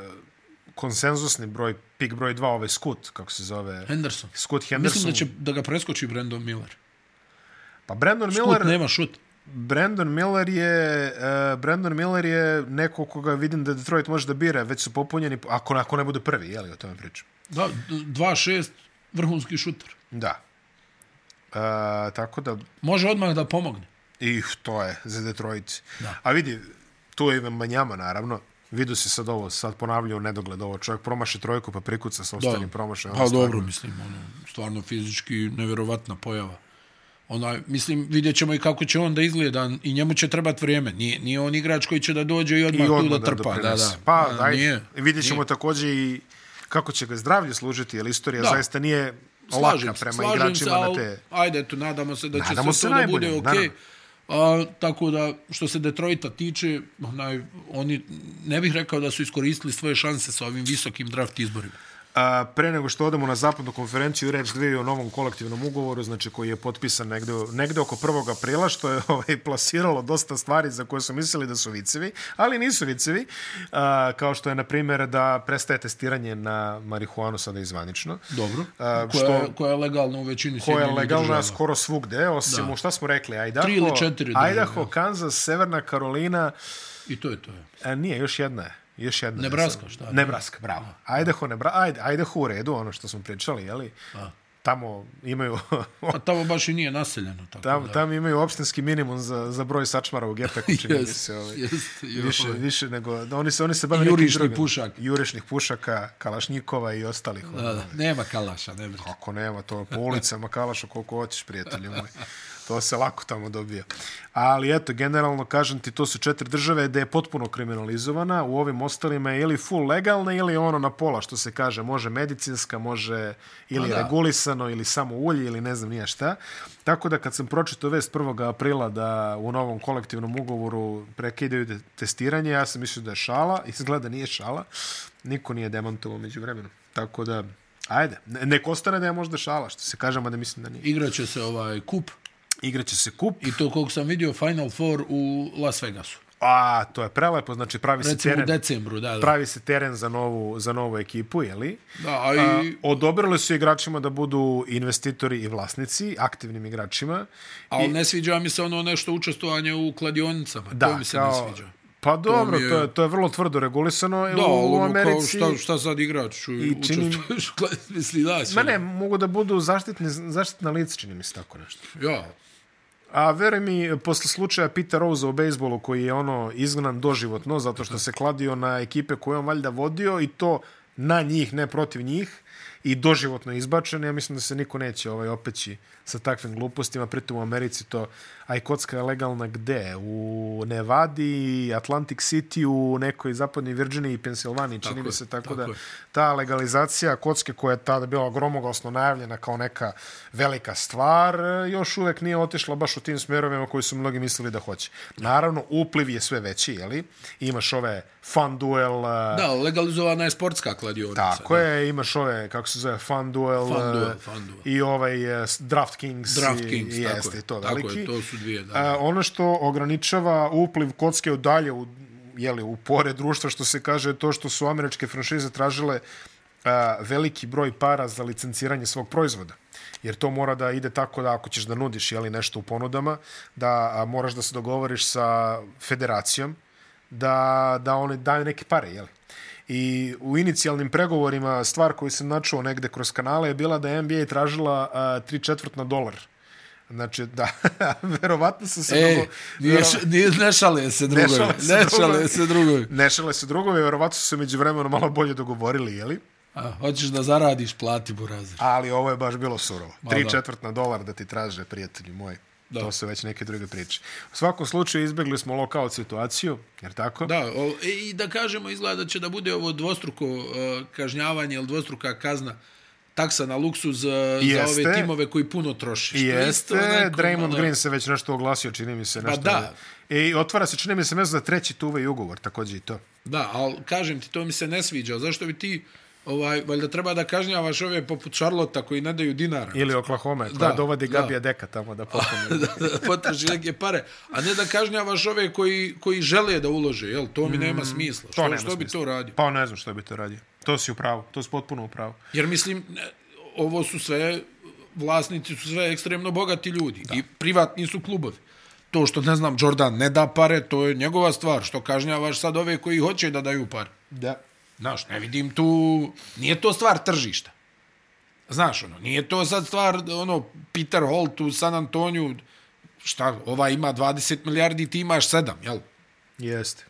konsensusni broj, pik broj 2, ovaj Scoot, kako se zove, Henderson. Scoot Henderson. Mislim da će da ga preskoči Brandon Miller. Pa Brandon Miller, Miller... nema šut. Brandon Miller je uh, Brandon Miller je neko koga vidim da Detroit može da bira, već su popunjeni ako ako ne bude prvi, je li o tome pričam. Da, d- 2-6, vrhunski šuter. Da. Uh, tako da Može odmah da pomogne. I to je za Detroit. Da. A vidi, tu je i Manjama, naravno. Vidu se sad ovo, sad ponavlja u nedogled ovo. Čovjek promaše trojku pa prikuca sa ostalim promašajem. Pa dobro, mislim, ono, stvarno fizički nevjerovatna pojava. Onaj, mislim, vidjet ćemo i kako će on da izgleda i njemu će trebati vrijeme. Nije, nije on igrač koji će da dođe i odmah, I Pa tu odmah da trpa. Da, da. Pa, A, daj, nije. vidjet ćemo također i kako će ga zdravlje služiti, jer istorija Da. zaista nije Slažem laka se, prema slažem igračima se, na al, te... Ajde, eto, nadamo se da će Nadamo se se to da najbolje, bude naravno. okej. A, tako da, što se Detroita tiče, onaj, oni, ne bih rekao da su iskoristili svoje šanse sa ovim visokim draft izborima. A, pre nego što odemo na zapadnu konferenciju, reč dvije o novom kolektivnom ugovoru, znači koji je potpisan negde, negde oko 1. aprila, što je [LAUGHS] ovaj, plasiralo dosta stvari za koje su mislili da su vicevi, ali nisu vicevi, a, kao što je, na primjer, da prestaje testiranje na marihuanu sada izvanično. Dobro. A, koja, što, koja je legalna u većini koja je Sjedinjenih legalna država. skoro svugde, osim Da. u šta smo rekli, Idaho, Tri ili četiri države, Idaho, Kansas, Severna Karolina, I to je to. je. E, nije, još jedna je. Još jedna Nebraska, je. sad. šta je? Nebraska, bravo. Idaho, Nebra, ajde, Idaho u redu, ono što smo pričali, jeli? A. Tamo imaju, [LAUGHS] A tamo baš i nije naseljeno. Tako tam, da. tam imaju opštinski minimum za, za broj sačmara u gepeku, čini mi Jest, se. Ovaj. jest, joj. Više, više nego, da oni se, oni se bave Jurišnih nekim drugim. pušaka. Jurišnih pušaka, kalašnjikova i ostalih. ono. Da, da, nema kalaša, ne brini. Ako nema to po ulicama Kalaša koliko hoćeš, prijatelju moj. To se lako tamo dobija. Ali eto, generalno kažem ti, to su četiri države gde je potpuno kriminalizovana. U ovim ostalima je ili full legalna ili ono na pola, što se kaže. Može medicinska, može ili Pa da. regulisano, ili samo ulje, ili ne znam nije šta. Tako da kad sam pročitao vest 1. aprila da u novom kolektivnom ugovoru prekidaju de- testiranje, ja sam mislio da je šala, izgleda nije šala. Niko nije demantovao među vremenom. Tako da, ajde, ne- nek ostane da je možda šala, što se kažemo da mislim da nije. Igraće se ovaj kup Igraće se kup, i to koliko sam vidio Final Four u Las Vegasu. A, to je prelepo, znači pravi se Recimo u teren. decembru, da, da. Pravi se teren za novu, za novu ekipu, jeli? Da, a A, i, odobrili su igračima da budu investitori i vlasnici, aktivnim igračima. ali ne sviđa mi se ono nešto učestvovanje u kladionicama. Da, to mi se kao- ne sviđa. Pa dobro, to mi je- je... to je, vrlo tvrdo regulisano Da, u, ali u ono kao Americi. šta, šta sad igrač u, I čini- učestvuješ, u kladi- [LAUGHS] misli da će. Ma ne, mogu da budu zaštitni, zaštitna lica, čini mi se tako nešto. Ja, A veruj mi, posle slučaja Pita Rose u bejsbolu, koji je ono izgnan doživotno, zato što se kladio na ekipe koje je on valjda vodio i to na njih, ne protiv njih, i doživotno je izbačen, ja mislim da se niko neće ovaj opeći sa takvim glupostima, pritom u Americi to, a i kocka je legalna gde? U Nevadi, Atlantic City, u nekoj zapadnoj Virginiji i Pensilvaniji, čini Tako mi je, se, tako, tako da je. ta legalizacija kocke koja je tada bila gromoglasno najavljena kao neka velika stvar, e, još uvek nije otišla baš u tim smerovima koji su mnogi mislili da hoće. Naravno, upliv je sve veći, jeli? Imaš ove fun duel, e, da, legalizovana je sportska kladionica. tako je, imaš ove, kako se zove, fun duel, Fun e, duel, fun duel. i ovaj e, s- DraftKings, i- DraftKings, i, tako jeste, je, i to tako je, veliki. to su dvije, da. E, ono što ograničava upliv kocke u dalje u, jeli, u pore društva, što se kaže, je to što su američke franšize tražile a, veliki broj para za licenciranje svog proizvoda. Jer to mora da ide tako da ako ćeš da nudiš jeli, nešto u ponudama, da a, moraš da se dogovoriš sa federacijom da, da one daju neke pare. Jeli. I u inicijalnim pregovorima stvar koju sam načuo negde kroz kanale je bila da je NBA tražila a, tri četvrt na dolar. Znači, da, [LAUGHS] verovatno su se... E, dogo- nije, š- nije, ne šale se drugovi. šale se Ne drugovi. šale se drugovi. Nešale se drugovi, verovatno su se među vremenom malo bolje dogovorili, jeli? A, hoćeš da zaradiš, plati burazir. Ali ovo je baš bilo surovo. Ma, Tri da. četvrt na dolar da ti traže, prijatelji moji. Da. To su već neke druge priče. U svakom slučaju izbegli smo lokal situaciju, jer tako? Da, o, e, i da kažemo, izgleda da će da bude ovo dvostruko e, kažnjavanje ili dvostruka kazna taksa na luksuz e, za Jeste. ove timove koji puno troše. I Što je isto jeste, onako, Draymond ono, Green se već nešto oglasio, čini mi se. Nešto Pa da. I otvara se, čini mi se, mesto za treći tuve i ugovor, takođe i to. Da, ali kažem ti, to mi se ne sviđa. Zašto bi ti, ovaj, valjda treba da kažnjavaš ove poput Charlota koji ne daju dinara. Ili Oklahoma, koja Da, dovodi da. Gabija Deka tamo da popomne. [LAUGHS] da, da potraži neke pare, a ne da kažnjavaš ove koji, koji žele da ulože, jel? To mi nema smisla. što, Mm, nema što bi smisla. to radio? Pa ne znam što bi to radio. To si u pravu, to si potpuno u pravu. Jer mislim, ne, ovo su sve, vlasnici su sve ekstremno bogati ljudi i privatni su klubovi. To što, ne znam, Jordan ne da pare, to je njegova stvar. Što kažnjavaš sad ove koji hoće da daju pare? Da. Znaš, ne vidim tu... Nije to stvar tržišta. Znaš, ono, nije to sad stvar, ono, Peter Holt u San Antoniju, šta, ova ima 20 milijardi, ti imaš 7, jel? Jeste.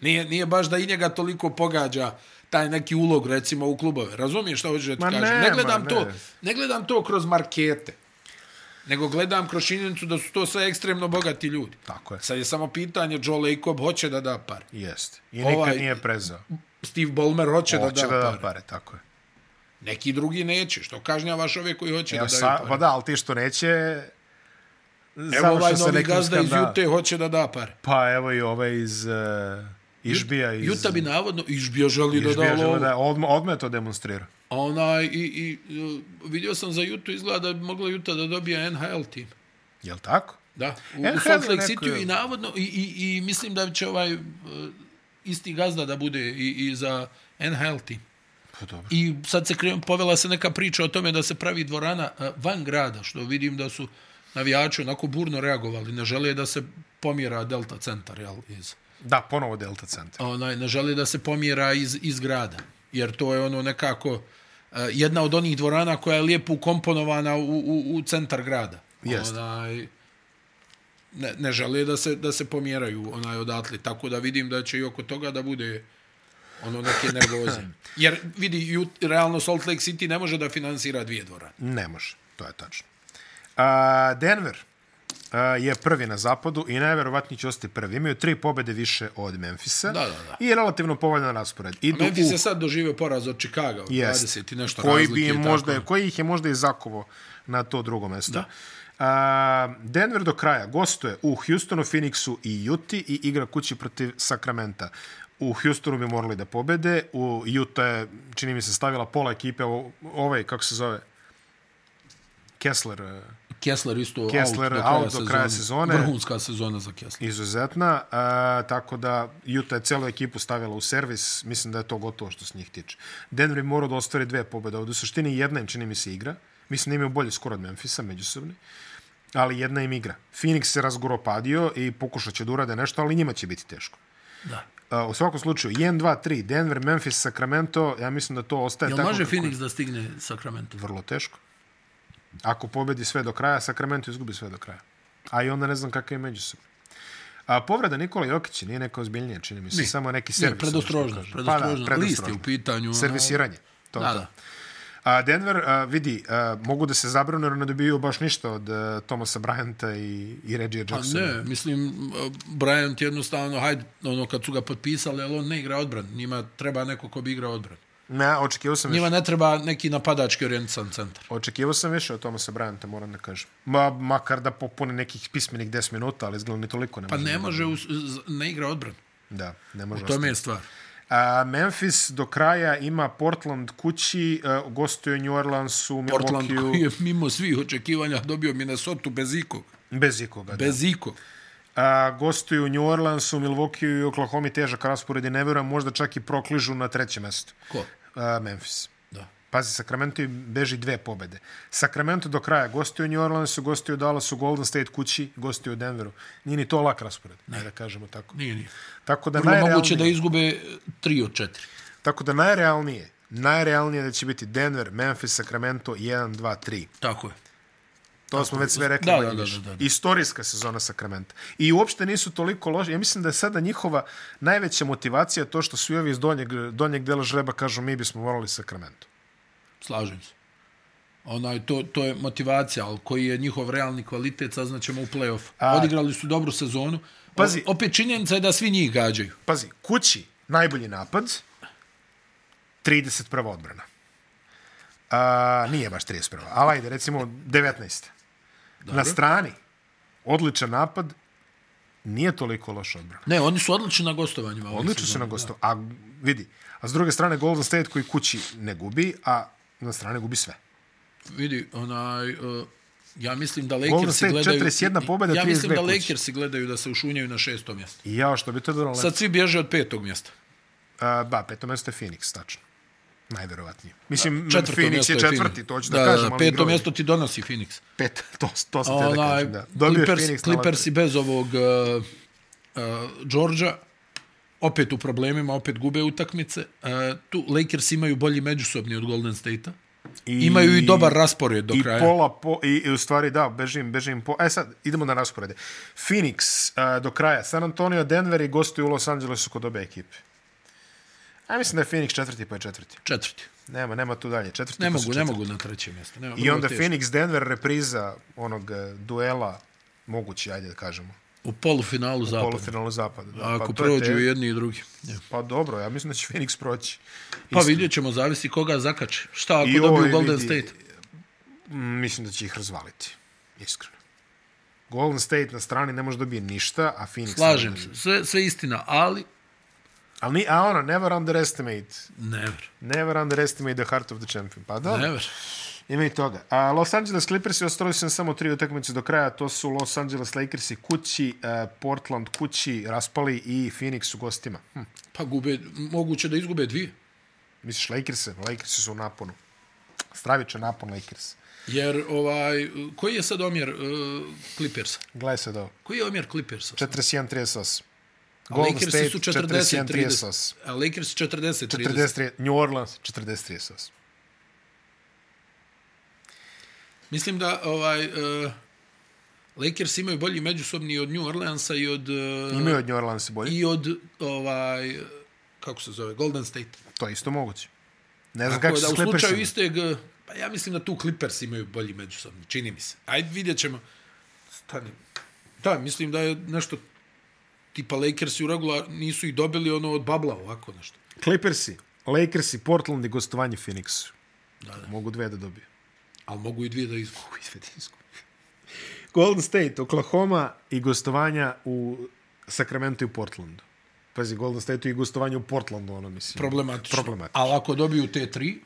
Nije, nije baš da i njega toliko pogađa taj neki ulog, recimo, u klubove. Razumiješ šta hoću da ti Ma kažem? ne, Ne gledam, ma to, ne. ne gledam to kroz markete, nego gledam kroz činjenicu da su to sve ekstremno bogati ljudi. Tako je. Sad je samo pitanje, Joe Lacob hoće da da par. Jeste. I nikad Ovaj- nije prezao. Steve Ballmer hoće, Hoće da da, da par. pare, tako je. Neki drugi neće, što kažnjavaš ove koji hoće Evo, da daju sa, pare. pa da, ali ti što neće... Evo završio ovaj sa novi nekim gazda iz skandalom. Jute hoće da da pare. Pa evo i ovaj iz uh, Išbija. Iz, Juta bi navodno, Išbija želi da Išbija da žele lovu. da odmah, odmah je to demonstrira. A onaj, i, i, e, vidio sam za Jutu, izgleda da bi mogla Juta da dobije NHL tim. Jel tako? Da, u, NHL u Salt Lake neko City je- i navodno, i, i, i mislim da će ovaj e, isti gazda da bude i, i za NHL tim. Pa dobro. I sad se krenem, povela se neka priča o tome da se pravi dvorana e, van grada, što vidim da su navijači onako burno reagovali, ne žele da se pomjera Delta centar, jel, iz... Da, ponovo Delta centar. onaj, ne želi da se pomjera iz, iz grada, jer to je ono nekako e, jedna od onih dvorana koja je lijepo ukomponovana u, u, u centar grada. Jest. Onaj, ne, ne žele da se, da se pomjeraju onaj odatle, tako da vidim da će i oko toga da bude ono neke [LAUGHS] nervoze. Jer vidi, ju, realno Salt Lake City ne može da finansira dvije dvorane. Ne može, to je tačno. A, Denver a, je prvi na zapadu i najverovatniji će ostati prvi. Imaju tri pobede više od Memfisa Da, da, da. i relativno povoljan raspored. Idu Memphis u je sad doživio poraz od Chicago, od Jest. 20 i nešto koji razlike. bi im tako. možda, koji ih je možda i zakovo na to drugo mesto. Da. A, Denver do kraja gostuje u Houstonu, Phoenixu i Uti i igra kući protiv Sakramenta. U Houstonu bi morali da pobede, u Utah je, čini mi se, stavila pola ekipe, o- ovaj, kako se zove, Kessler, e, Kessler isto Kessler out do kraja, out do kraja sezone. Vrhunska sezona za Kessler. izuzetna, a, tako da Utah je celu ekipu stavila u servis, mislim da je to gotovo što se njih tiče. Denver je morao da ostvari dve pobjede, ovdje u suštini jedna im čini mi se igra, mislim da imaju bolji skor od Memfisa, međusobni, ali jedna im igra. Phoenix se razgoropadio i pokušat će da urade nešto, ali njima će biti teško. Da. A, u svakom slučaju, 1, 2, 3, Denver, Memphis, Sacramento, ja mislim da to ostaje Jel tako može kako je. Phoenix da stigne Sacramento? Vrlo teško. Ako pobedi sve do kraja, Sacramento izgubi sve do kraja. A i onda ne znam kakav je međusobno. A povreda Nikola Jokića nije neka ozbiljnija, čini mi se, Nije. samo neki Ne, servis. predostrožno. ono što kažu. Predostrožno. Pa da, List je u pitanju. ono- Servisiranje. To, Da, to. da. A Denver, a, vidi, a, mogu da se zabranu jer ne dobiju baš ništa od a, Thomasa Bryanta i, i Reggie Pa Jacksona. ne, mislim, uh, Bryant jednostavno, hajde, ono, kad su ga potpisali, ali on ne igra odbran. Njima treba neko ko bi igrao odbran. Ne, očekivao sam Njima više. ne treba neki napadački orijentisan centar. Očekivao sam više od Thomasa Bryanta, moram da kažem. Ma, makar da popune nekih pismenih 10 minuta, ali izgleda ni toliko ne Pa može. ne da- može, u, z- ne igra odbran. Da, ne može. To je je stvar. A Memphis do kraja ima Portland kući, uh, gostuje New Orleansu, Portland Milwaukee-u, koji je mimo svih očekivanja dobio Minnesota bez ikog. bez ikoga. Bez... Bez ikog. A, gostuju New Orleansu, Milwaukee-u i Oklahoma težak raspored i ne vjerujem, možda čak i prokližu na trećem mestu. Ko? A, Memphis. Da. Pazi, Sacramento im beži dve pobede. Sacramento do kraja gostuju New Orleansu, gostuju Dallasu, Golden State kući, gostuju Denveru. Nije ni to lak raspored, ne. da kažemo tako. Nije, nije. Tako da, Vrlo najrealnije, moguće da izgube e, tri od četiri. tako da najrealnije, najrealnije da će biti Denver, Memphis, Sacramento 1, 2, 3. Tako je. To smo već sve rekli. Da, manje da, da, više. da, da. Istorijska sezona Sakramenta. I uopšte nisu toliko loši. Ja mislim da je sada njihova najveća motivacija to što svi ovi iz donjeg, donjeg dela žreba kažu mi bismo morali Sakramentu. Slažem se. Onaj, to, to je motivacija, ali koji je njihov realni kvalitet, saznaćemo u play-off. Odigrali su dobru sezonu. Pazi. O, opet činjenica je da svi njih gađaju. Pazi, kući najbolji napad, 31. odbrana. A, nije baš 31. Ali ajde, recimo 19. Na strani, odličan napad, nije toliko loša odbrana. Ne, oni su odlični na gostovanjima. ove Odlično se sezone. na gosto. A vidi, a s druge strane Golden State koji kući ne gubi, a na strane gubi sve. Vidi, onaj... Uh, ja mislim da Golden Lakersi State gledaju... 41 pobjeda, ja mislim 32 da kući. Lakersi gledaju da se ušunjaju na šesto mjesto. I jao što bi to bilo lepo. Sad svi bježe od petog mjesta. A, ba, peto mesto je Phoenix, tačno. Najverovatnije. Mislim, Četvrto Phoenix mjesto je je četvrti, Phoenix. to ću da, kažem. ali peto igrao je- mjesto ti donosi Phoenix. Pet, [LAUGHS] to, to sam te da Onaj, kažem, da. Dobio je Clippers, Phoenix na Clippers i loteru. bez ovog uh, uh, Georgia opet u problemima, opet gube utakmice. Uh, tu Lakers imaju bolji međusobni od Golden State-a. Imaju i dobar raspored do I kraja. pola, po, i, i u stvari da, bežim, bežim po... E sad, idemo na rasporede. Phoenix a, do kraja, San Antonio, Denver i gostuju u Los Angelesu kod obe ekipe. A mislim da je Phoenix četvrti pa je četvrti. Četvrti. Nema, nema tu dalje. Četvrti Ne pa su mogu, ne četvrti. mogu na treće mjesto. Ne, I onda Phoenix Denver repriza onog eh, duela mogući, ajde da kažemo, U polufinalu zapada. polufinalu zapada. Da. Pa Ako to je prođu te- i jedni i drugi. Ja. Pa dobro, ja mislim da će Phoenix proći. Pa Isto. vidjet ćemo, zavisi koga zakače. Šta ako I ovo dobiju je, Golden vidi, State? Mm, Mislim da će ih razvaliti, iskreno. Golden State na strani ne može dobije ništa, a Phoenix... Slažem se, sve, sve istina, ali Ali, ni- a ono, never underestimate. never, Never underestimate the heart of the champion. Pa da, never. Ima i toga. A Los Angeles Clippersi ostali su im samo tri utakmice do kraja. To su Los Angeles Lakersi kući, eh, Portland kući, raspali i Phoenix u gostima. Hm. Pa gube, moguće da izgube dvije. Misliš Lakerse? Lakersi su u naponu. Stravičan napon Lakers. Jer ovaj, koji je sad omjer uh, Clippersa? Gledaj sad ovo. Koji je omjer Clippersa? 41-38. A Golden Lakersi State su 40 41-38. 30. A Lakers 40 30. 43, New Orleans 40-38. Mislim da ovaj uh, Lakers imaju bolji međusobni od New Orleansa i od uh, Imaju od New Orleans bolje. i od ovaj uh, kako se zove Golden State. To je isto moguće. Ne znam Kako kako da se u slučaju Clippersi... istog uh, pa ja mislim da tu Clippers imaju bolji međusobni, čini mi se. Ajde vidjet ćemo. Stani. Da, mislim da je nešto tipa Lakersi u regular nisu i dobili ono od babla ovako nešto. Clippersi, Lakersi, Portland i gostovanje Phoenixu. Mogu dve da dobiju. Ali mogu i dvije da izgubi. Svetinsku. Golden State, Oklahoma i gostovanja u Sacramento i u Portlandu. Pazi, Golden State i gostovanje u Portlandu, ono mislim. Problematično. Problematično. Ali ako dobiju te tri,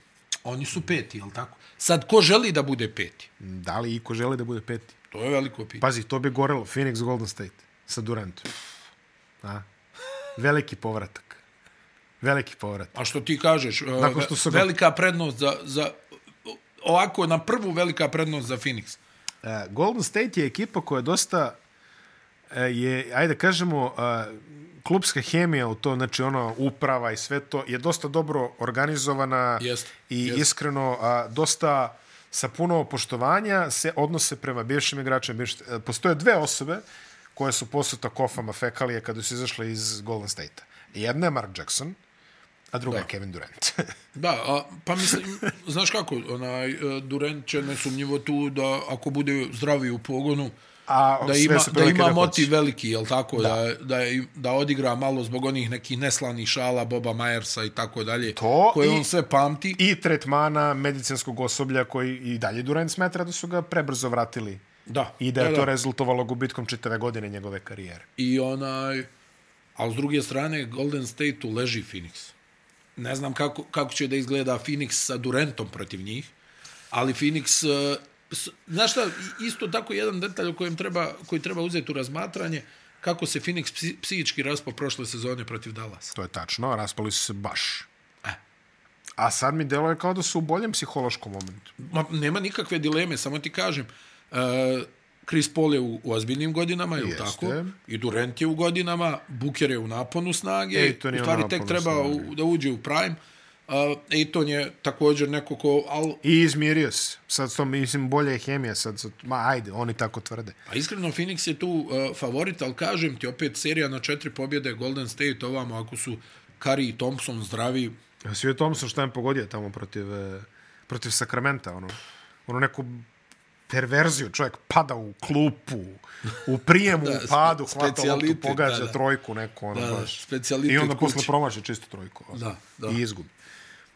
Oni su peti, jel tako? Sad, ko želi da bude peti? Da li iko želi da bude peti? To je veliko pitanje. Pazi, to bi gorelo. Phoenix Golden State sa Durantom. A? Veliki povratak. Veliki povratak. A što ti kažeš, Nakon što su ve- ga- velika prednost za, za... Ovako, na prvu velika prednost za Phoenix. E, Golden State je ekipa koja je dosta e, je, ajde kažemo, e, klubska hemija u to, znači ono uprava i sve to je dosta dobro organizovana Jeste, i jeste. iskreno a, dosta sa puno poštovanja se odnose prema bivšim igračima. Bivšim, e, postoje dve osobe koje su posuta kofama fekalije kada su izašle iz Golden State-a. Jedna je Mark Jackson, a druga da. je Kevin Durant. [LAUGHS] Da, a, pa mislim, znaš kako, onaj, e, Durant će nesumnjivo tu da ako bude zdravi u pogonu, a da sve ima, su da prilike ima hoće. motiv veliki, jel tako? Da. Da, da, im- da odigra malo zbog onih nekih neslanih šala Boba Majersa i tako dalje, To koje i- on sve pamti. i tretmana medicinskog osoblja koji i dalje Durant smatra da su ga prebrzo vratili da, i da je da, to da. rezultovalo gubitkom čitave godine njegove karijere. I onaj, ali s druge strane, Golden State-u leži Phoenix. Ne znam kako, kako će da izgleda Phoenix sa Durantom protiv njih, ali Phoenix... e, s- Znaš šta, isto tako jedan detalj o kojem treba, koji treba uzeti u razmatranje, kako se Phoenix psi- psihički raspao prošle sezone protiv Dallasa. To je tačno, raspali su se baš. E. A sad mi deluje kao da su u boljem psihološkom momentu. Ma, nema nikakve dileme, samo ti kažem, uh, Chris Paul je u, u ozbiljnim godinama, je li Jeste. tako? I Durant je u godinama, Booker je u naponu snage, Ayton E, je u u stvari tek naponu treba u, da uđe u prime. Uh, Ejton je također neko ko, al, I izmirio se. Sad to, mislim, bolja je hemija. Sad, sad, ma ajde, oni tako tvrde. a iskreno Phoenix je tu uh, favorit, ali kažem ti, opet serija na četiri pobjede Golden State ovamo, ako su Curry i Thompson zdravi, Svi Thompson šta im pogodio tamo protiv, eh, protiv Sakramenta, ono, ono neku perverziju, čovjek pada u klupu, u [LAUGHS] prijemu, Da, u padu, hvata loptu, specijalitet, pogađa da, da. trojku neku, ono Da, da, baš. specijalitet I onda posle kući. promaši čistu trojku. ono. Da, da. I izgubi.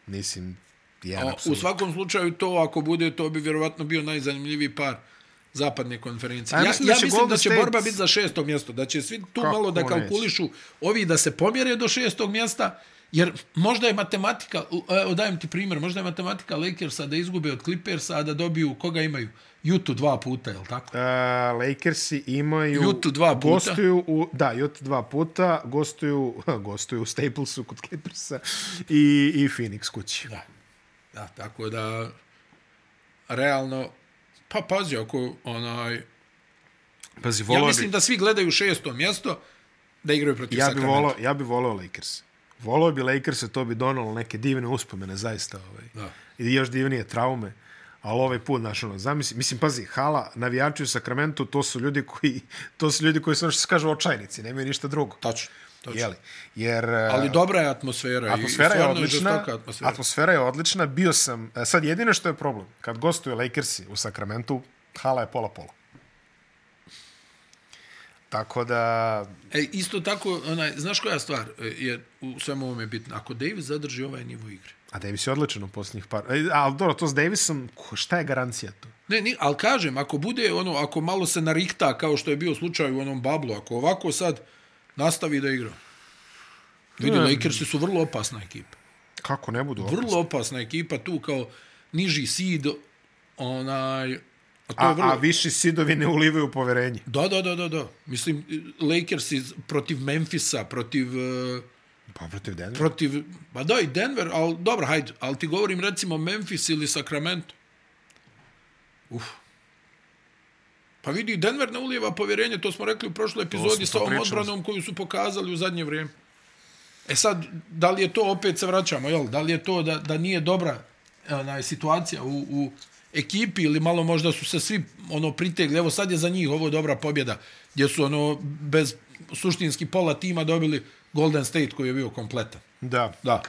Mislim, jedan A, u apsolutno. svakom slučaju to ako bude to bi vjerovatno bio najzanimljiviji par zapadne konferencije. A Ja, ja ja mislim mislim, da ja će mislim da Golden će State- borba biti za šesto mjesto, da će svi tu Kako malo da neće? kalkulišu ovi da se pomjere do šestog mjesta, jer možda je matematika, e, evo dajem ti primjer, možda je matematika Lakersa da izgube od Clippersa, a da dobiju, koga imaju? Jutu dva puta, je li tako? E, Lakersi imaju... Jutu dva puta. Gostuju u, da, Jut dva puta, gostuju, [LAUGHS] gostuju u Staplesu kod Clippersa i, i Phoenix kući. Da. Da, tako da realno pa pazi ako onaj Pazi, volao ja bi- mislim da svi gledaju šesto mjesto da igraju protiv Ja bi Sacramento. volao, ja bi volao Lakers. Volao bi Lakers, to bi donalo neke divne uspomene zaista, ovaj. Da. I još divnije traume. Ali ovaj put, znaš, ono, zamisli, mislim, pazi, hala, navijači u Sakramentu, to su ljudi koji, [LAUGHS] to su ljudi koji su, ono što se kaže, očajnici, nemaju ništa drugo. Tačno. tačno. Jeli? Jer, eh, Ali dobra je atmosfera. i- atmosfera i je stvarno odlična. žestoka atmosfera. Atmosfera. je odlična. Bio sam, e, sad jedino što je problem, kad gostuju Lakersi u Sakramentu, hala je pola-pola. Tako da, E, isto tako, onaj, znaš koja stvar e, je u svemu ovome bitna? Ako Davis zadrži ovaj nivo igre. A Davis je odličan u posljednjih par... E, ali dobro, to s Davisom, ko- šta je garancija tu? Ne, ni, ali kažem, ako bude ono, ako malo se narikta kao što je bio slučaj u onom bablu, ako ovako sad nastavi da igra. Vidi, Lakersi su vrlo opasna ekipa. Kako ne budu? opasni? Vrlo opasna ekipa tu kao niži seed, onaj... A, to je A, vrlo... a viši sidovi ne ulivaju poverenje. Da, da, da, da, da. Mislim, Lakersi protiv Memfisa, protiv... Uh, Pa protiv Denver. protiv, ba da i Denver, ali dobro, hajde, ali ti govorim recimo Memphis ili Sacramento. Uf. Pa vidi, Denver ne ulijeva povjerenje, to smo rekli u prošloj smo epizodi sa ovom pričali. odbranom koju su pokazali u zadnje vrijeme. E sad, da li je to, opet se vraćamo, jel? Da li je to da, da nije dobra onaj, situacija u, u ekipi ili malo možda su se svi ono pritegli, evo sad je za njih ovo dobra pobjeda, gdje su ono bez suštinski pola tima dobili Golden State koji je bio kompletan. Da. Da.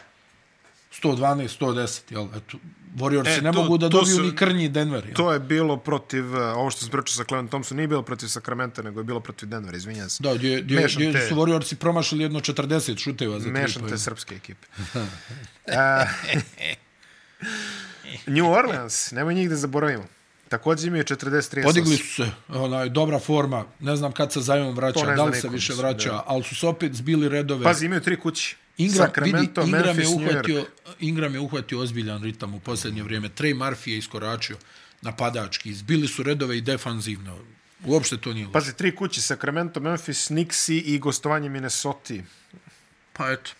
112, 110, jel? Eto, Warriorsi E, e, ne to- mogu da to dobiju su- ni krnji Denver, jel? To je bilo protiv, e, ovo što sam pričao sa Cleveland Thompson, nije bilo protiv Sakramenta, nego je bilo protiv Denvera, izvinjam se. Da, gdje, gdje, Mešam gdje te- su Warriorsi promašili jedno 40 šuteva za tri Mešam pojene. te srpske [LAUGHS] ekipe. E, New Orleans, nemoj njih da zaboravimo. Takođe imaju 43 Podigli su se, onaj, dobra forma, ne znam kad se Zion To vraća, ne da zna li se niko, više mislim, vraća, da. ali su se opet zbili redove. Pazi, imaju tri kući. Ingram, Sacramento, vidi, Ingram Memphis, je New York. uhvatio, Ingram je uhvatio ozbiljan ritam u posljednje vrijeme. Trey Murphy je iskoračio napadački. Zbili su redove i defanzivno. Uopšte to nije loše. Pazi, tri kući, Sacramento, Memphis, Nixi i gostovanje Minnesota. Pa eto,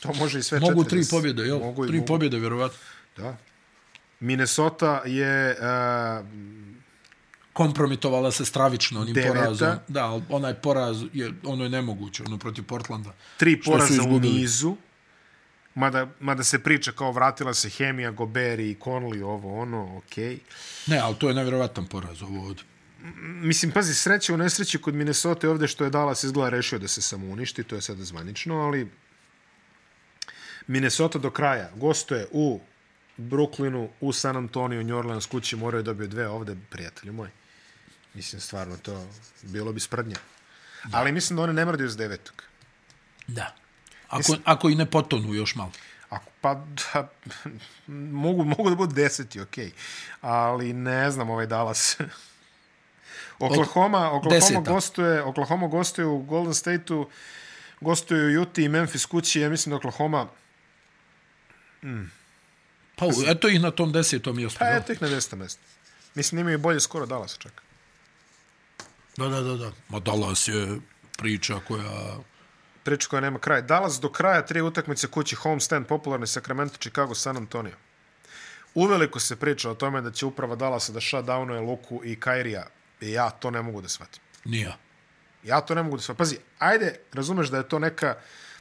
To može i sve mogu E, četiri. tri pobjede, jel? Mogu i tri mogu. pobjede, vjerovatno. Da. Minnesota je uh, Kompromitovala se stravično onim Deveta. porazom. Da, ali onaj poraz, je, ono je nemoguće, ono protiv Portlanda. tri Što su poraza u izgubili. nizu. Mada, mada se priča kao vratila se Hemija, Goberi i Conley, ovo ono, okej. Okay. Ne, ali to je nevjerovatan poraz ovo od... Mislim, pazi, sreće u nesreći kod Minnesota je ovde što je Dallas izgleda rešio da se samo uništi, to je sada zvanično, ali Minnesota do kraja gostuje u Brooklynu, u San Antonio, New Orleans kući, moraju dobiju dve ovde, prijatelju moj. Mislim, stvarno, to bilo bi sprdnja. Ali mislim da one ne mrdaju s devetog. Da. Ako, ako i ne potonu još malo. Ako, pa, da, mogu, mogu da budu deseti, okej. Okay. Ali ne znam ovaj Dallas. [LAUGHS] Oklahoma, Oklahoma Deseta. gostuje, Oklahoma gostuje u Golden State-u, gostuje u Utah i Memphis kući. Ja mislim da Oklahoma, Pa u- eto ih na tom desetom mjestu. pa jel? eto ih na desetom mestu. Mislim, imaju bolje skoro Dallas čak. Da, da, da, da. Ma Dallas je priča koja... Priča koja nema kraja. Dallas do kraja tri utakmice kući, homestand, popularni Sacramento, Chicago, San Antonio. Uveliko se priča o tome da će uprava Dallasa da shutdownuje Luku i Kairija. I ja to ne mogu da shvatim. Nije. Ja to ne mogu da sve. Pazi, ajde, razumeš da je to neka,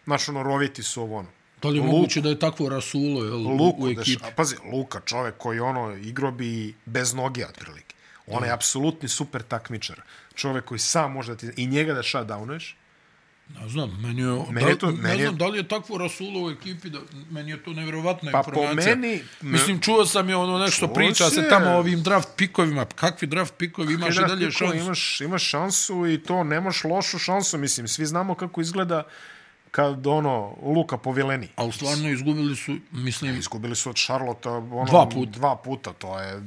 znaš, ono, roviti su ovo, ono. Da li je Luku. moguće da je takvo rasulo jel, Luku, u Luku, deš, ekipi? a pazi, Luka, čovek koji, ono, igro bi bez noge, otprilike. On je apsolutni super takmičar. Čovek koji sam može da ti... I njega da shutdownuješ. Ne znam, meni je... Meni je da, to- ne meni je- znam da li je takvo rasulo u ekipi, da, meni je to nevjerovatna Pa po informacija. meni... Mislim, čuo sam je ono nešto, Čuo priča se se. tamo o ovim draft pikovima. Kakvi draft pikovi imaš i Imaš, dalje šans? imaš, imaš šansu i to nemaš lošu šansu. Mislim, svi znamo kako izgleda kad, ono, Luka povileni. Ali stvarno izgubili su, mislim, Izgubili su od Charlotte ono, Dva puta. dva puta. To je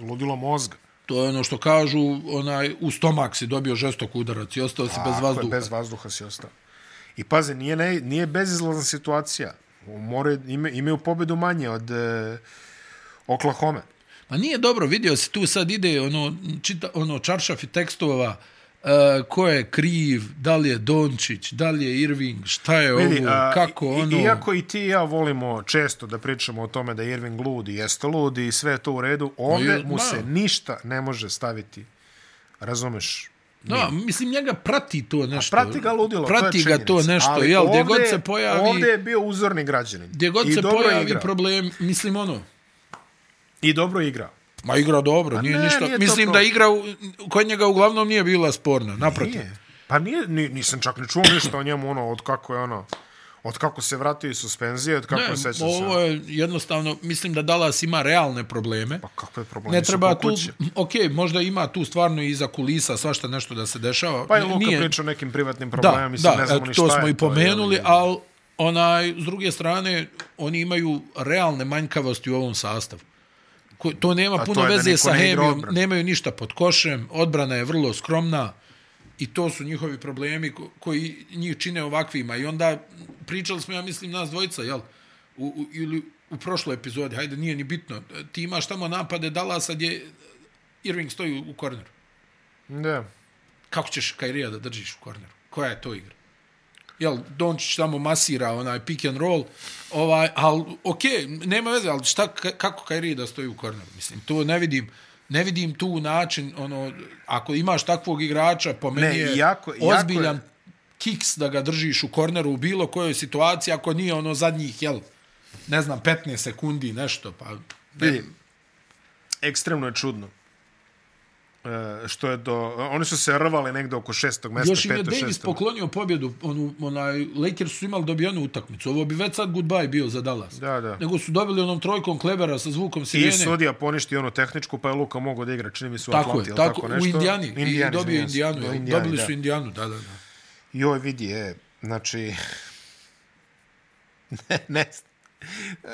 ludilo mozga. to je ono što kažu, onaj, u stomak si dobio žestok udarac i ostao si bez Tako je, vazduha. Bez vazduha si ostao. I pazi, nije, ne, nije bezizlazna situacija. More, ime, imaju pobedu manje od e, Oklahoma. Pa nije dobro, vidio se tu sad ide ono, čita, ono čaršaf i tekstova, uh, ko je kriv, da li je Dončić, da li je Irving, šta je ovo, a, kako i- ono... Iako i ti i ja volimo često da pričamo o tome da je Irving lud i jeste lud i sve je to u redu, ovde je- mu da. se ništa ne može staviti. Razumeš? Da, mislim, njega prati to nešto. Prati ga ludilo, to Prati je ga činjenica. to nešto, Ali jel, gdje ovde- god se pojavi... Ovde je bio uzorni građanin. Gdje god I se dobro je pojavi igrao. problem, mislim ono, I dobro igra. ma igra dobro, nije Pa ne, ništa. nije to mislim da problem. igra u, kod njega uglavnom nije bila sporna, naprotiv. Nije. Pa nije, ni, nisam čak ni čuo ništa o njemu, ono, od kako je ono, od kako se vratio iz suspenzije, od kako ne, Ne, sećam se. ovo je jednostavno, mislim da Dallas ima realne probleme. Pa kakve probleme Ne su treba po tu, kući. ok, možda ima tu stvarno i iza kulisa svašta nešto da se dešava. Pa je N- Luka nije- Nije. pričao o nekim privatnim problemima, da, mislim, da, ne znamo eto, ni šta to je. smo i je, pomenuli, ali- ali onaj, s druge strane, oni imaju realne manjkavosti u ovom sastavu. Ko- To nema to puno je da veze niko sa ne igra Hemijom, odbranu. nemaju ništa pod košem, odbrana je vrlo skromna i to su njihovi problemi ko- koji njih čine ovakvima. I onda pričali smo, ja mislim, nas dvojica, jel? U, u, ili u prošloj epizodi, hajde, nije ni bitno. Ti imaš tamo napade Dallasa gdje Irving stoji u- u korneru. Da. Kako ćeš Kairija da držiš u korneru? Koja je to igra? Jel, Dončić tamo masira onaj pick and roll, ovaj, ali okej, nema veze, ali šta, ka- kako Kairi da stoji u korneru? Mislim, to ne vidim, ne vidim tu način, ono, ako imaš takvog igrača, po meni Ne, je jako- jako ozbiljan je- kiks da ga držiš u korneru u bilo kojoj situaciji, ako nije ono zadnjih, jel, ne znam, 15 sekundi, nešto, pa... Ne, Vidi, ekstremno je čudno. E, što je do... Oni su se rvali negde oko šestog mesta, Još im je peto, Davis šesto. poklonio pobjedu, onu, onaj, Lakers su imali dobijenu utakmicu, ovo bi već sad goodbye bio za Dallas. Da, da. Nego su dobili onom trojkom Klebera sa zvukom I sirene. sudija poništi onu tehničku, pa je Luka mogao da igra, čini mi se u tako Atlanti, je, jel tako, u nešto? Indijani. I dobio izvinjam se. Indijanu, Da, jel? Indijani, dobili da. su Indijanu, da, da, da. Joj, vidi, je, znači... [LAUGHS] ne, ne znam.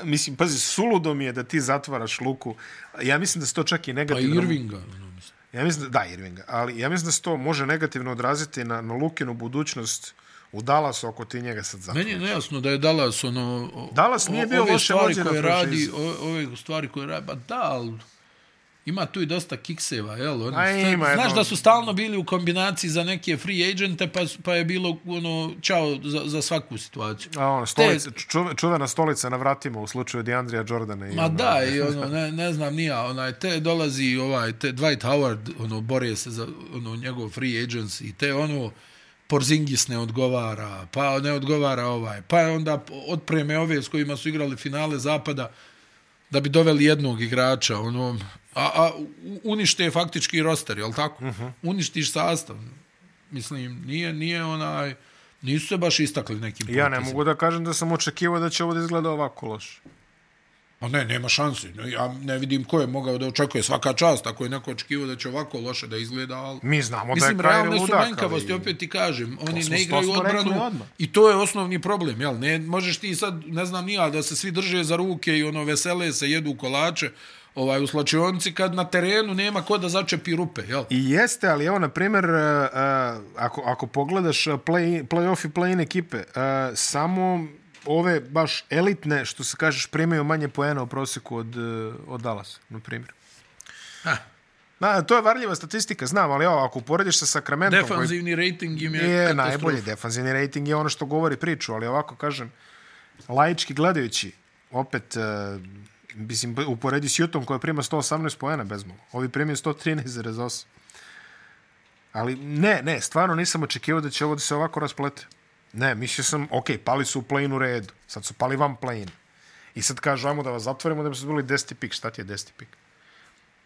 Mislim, pazi, suludo mi je da ti zatvaraš luku. Ja mislim da se to čak i Pa negativno... Irvinga, ono, mislim. Ja mislim da, da, Irvinga. Ali ja mislim da se to može negativno odraziti na, na Lukinu budućnost U Dallasu oko ti njega sad zakon. Meni je nejasno da je Dallas ono... o- Dallas nije o- bio ove loše stvari vođena koje franšiza. radi, o- Ove stvari koje radi, ba da, ali ima tu i dosta kikseva, jel? Ono, A sta- ima znaš jedno- da su stalno bili u kombinaciji za neke free agente, pa, su- pa je bilo ono, čao za, za svaku situaciju. A ono, stolica, čuve- čuvena stolica na vratima u slučaju DeAndrea Jordana. I Ma ono- da, i ono, ne, ne znam nija, onaj, te dolazi ovaj, te Dwight Howard, ono, bore se za ono, njegov free agency, te ono, Porzingis ne odgovara, pa ne odgovara ovaj, pa je onda otpreme ove s kojima su igrali finale zapada, da bi doveli jednog igrača, ono, a, a u- unište je faktički roster, jel tako? Mhm. Uh -huh. Uništiš sastav. Mislim, nije, nije onaj, nisu se baš istakli nekim Ja ne potezima. mogu da kažem da sam očekivao da će ovo da izgleda ovako loše. Ma ne, nema šanse. No, Ja ne vidim ko je mogao da očekuje svaka čast. Ako je neko očekivao da će ovako loše da izgleda, ali... Mi znamo Mislim, da je Kyrie realne su ludak, manjkavosti, opet ti kažem. Oni smo ne igraju sto- sto rekli odbranu odmah. i to je osnovni problem, jel? Ne, možeš ti sad, ne znam nija, da se svi drže za ruke i ono vesele se, jedu kolače ovaj, u slačionci, kad na terenu nema ko da začepi rupe, jel? I jeste, ali evo, na primjer, uh, uh, ako, ako pogledaš uh, play, play-off i play-in ekipe, uh, samo ove baš elitne, što se kažeš, primaju manje poena u prosjeku od, uh, od Dallasa, na primjer. Ha, Na, to je varljiva statistika, znam, ali evo, ako uporediš sa Sacramentom, koji defanzivni rating im je, je katastrofa. najbolji defanzivni rating, je ono što govori priču, ali ovako kažem, laički gledajući, opet, uh, mislim, uporedi s Jutom koja prima 118 poena bezmalo. Ovi primaju 113,8. Ali ne, ne, stvarno nisam očekivao da će ovo da se ovako rasplete. Ne, mislio sam, ok, pali su u plane u redu, sad su pali van plane. I sad kažu, ajmo da vas zatvorimo da bi se bili deseti pik. Šta ti je deseti pik?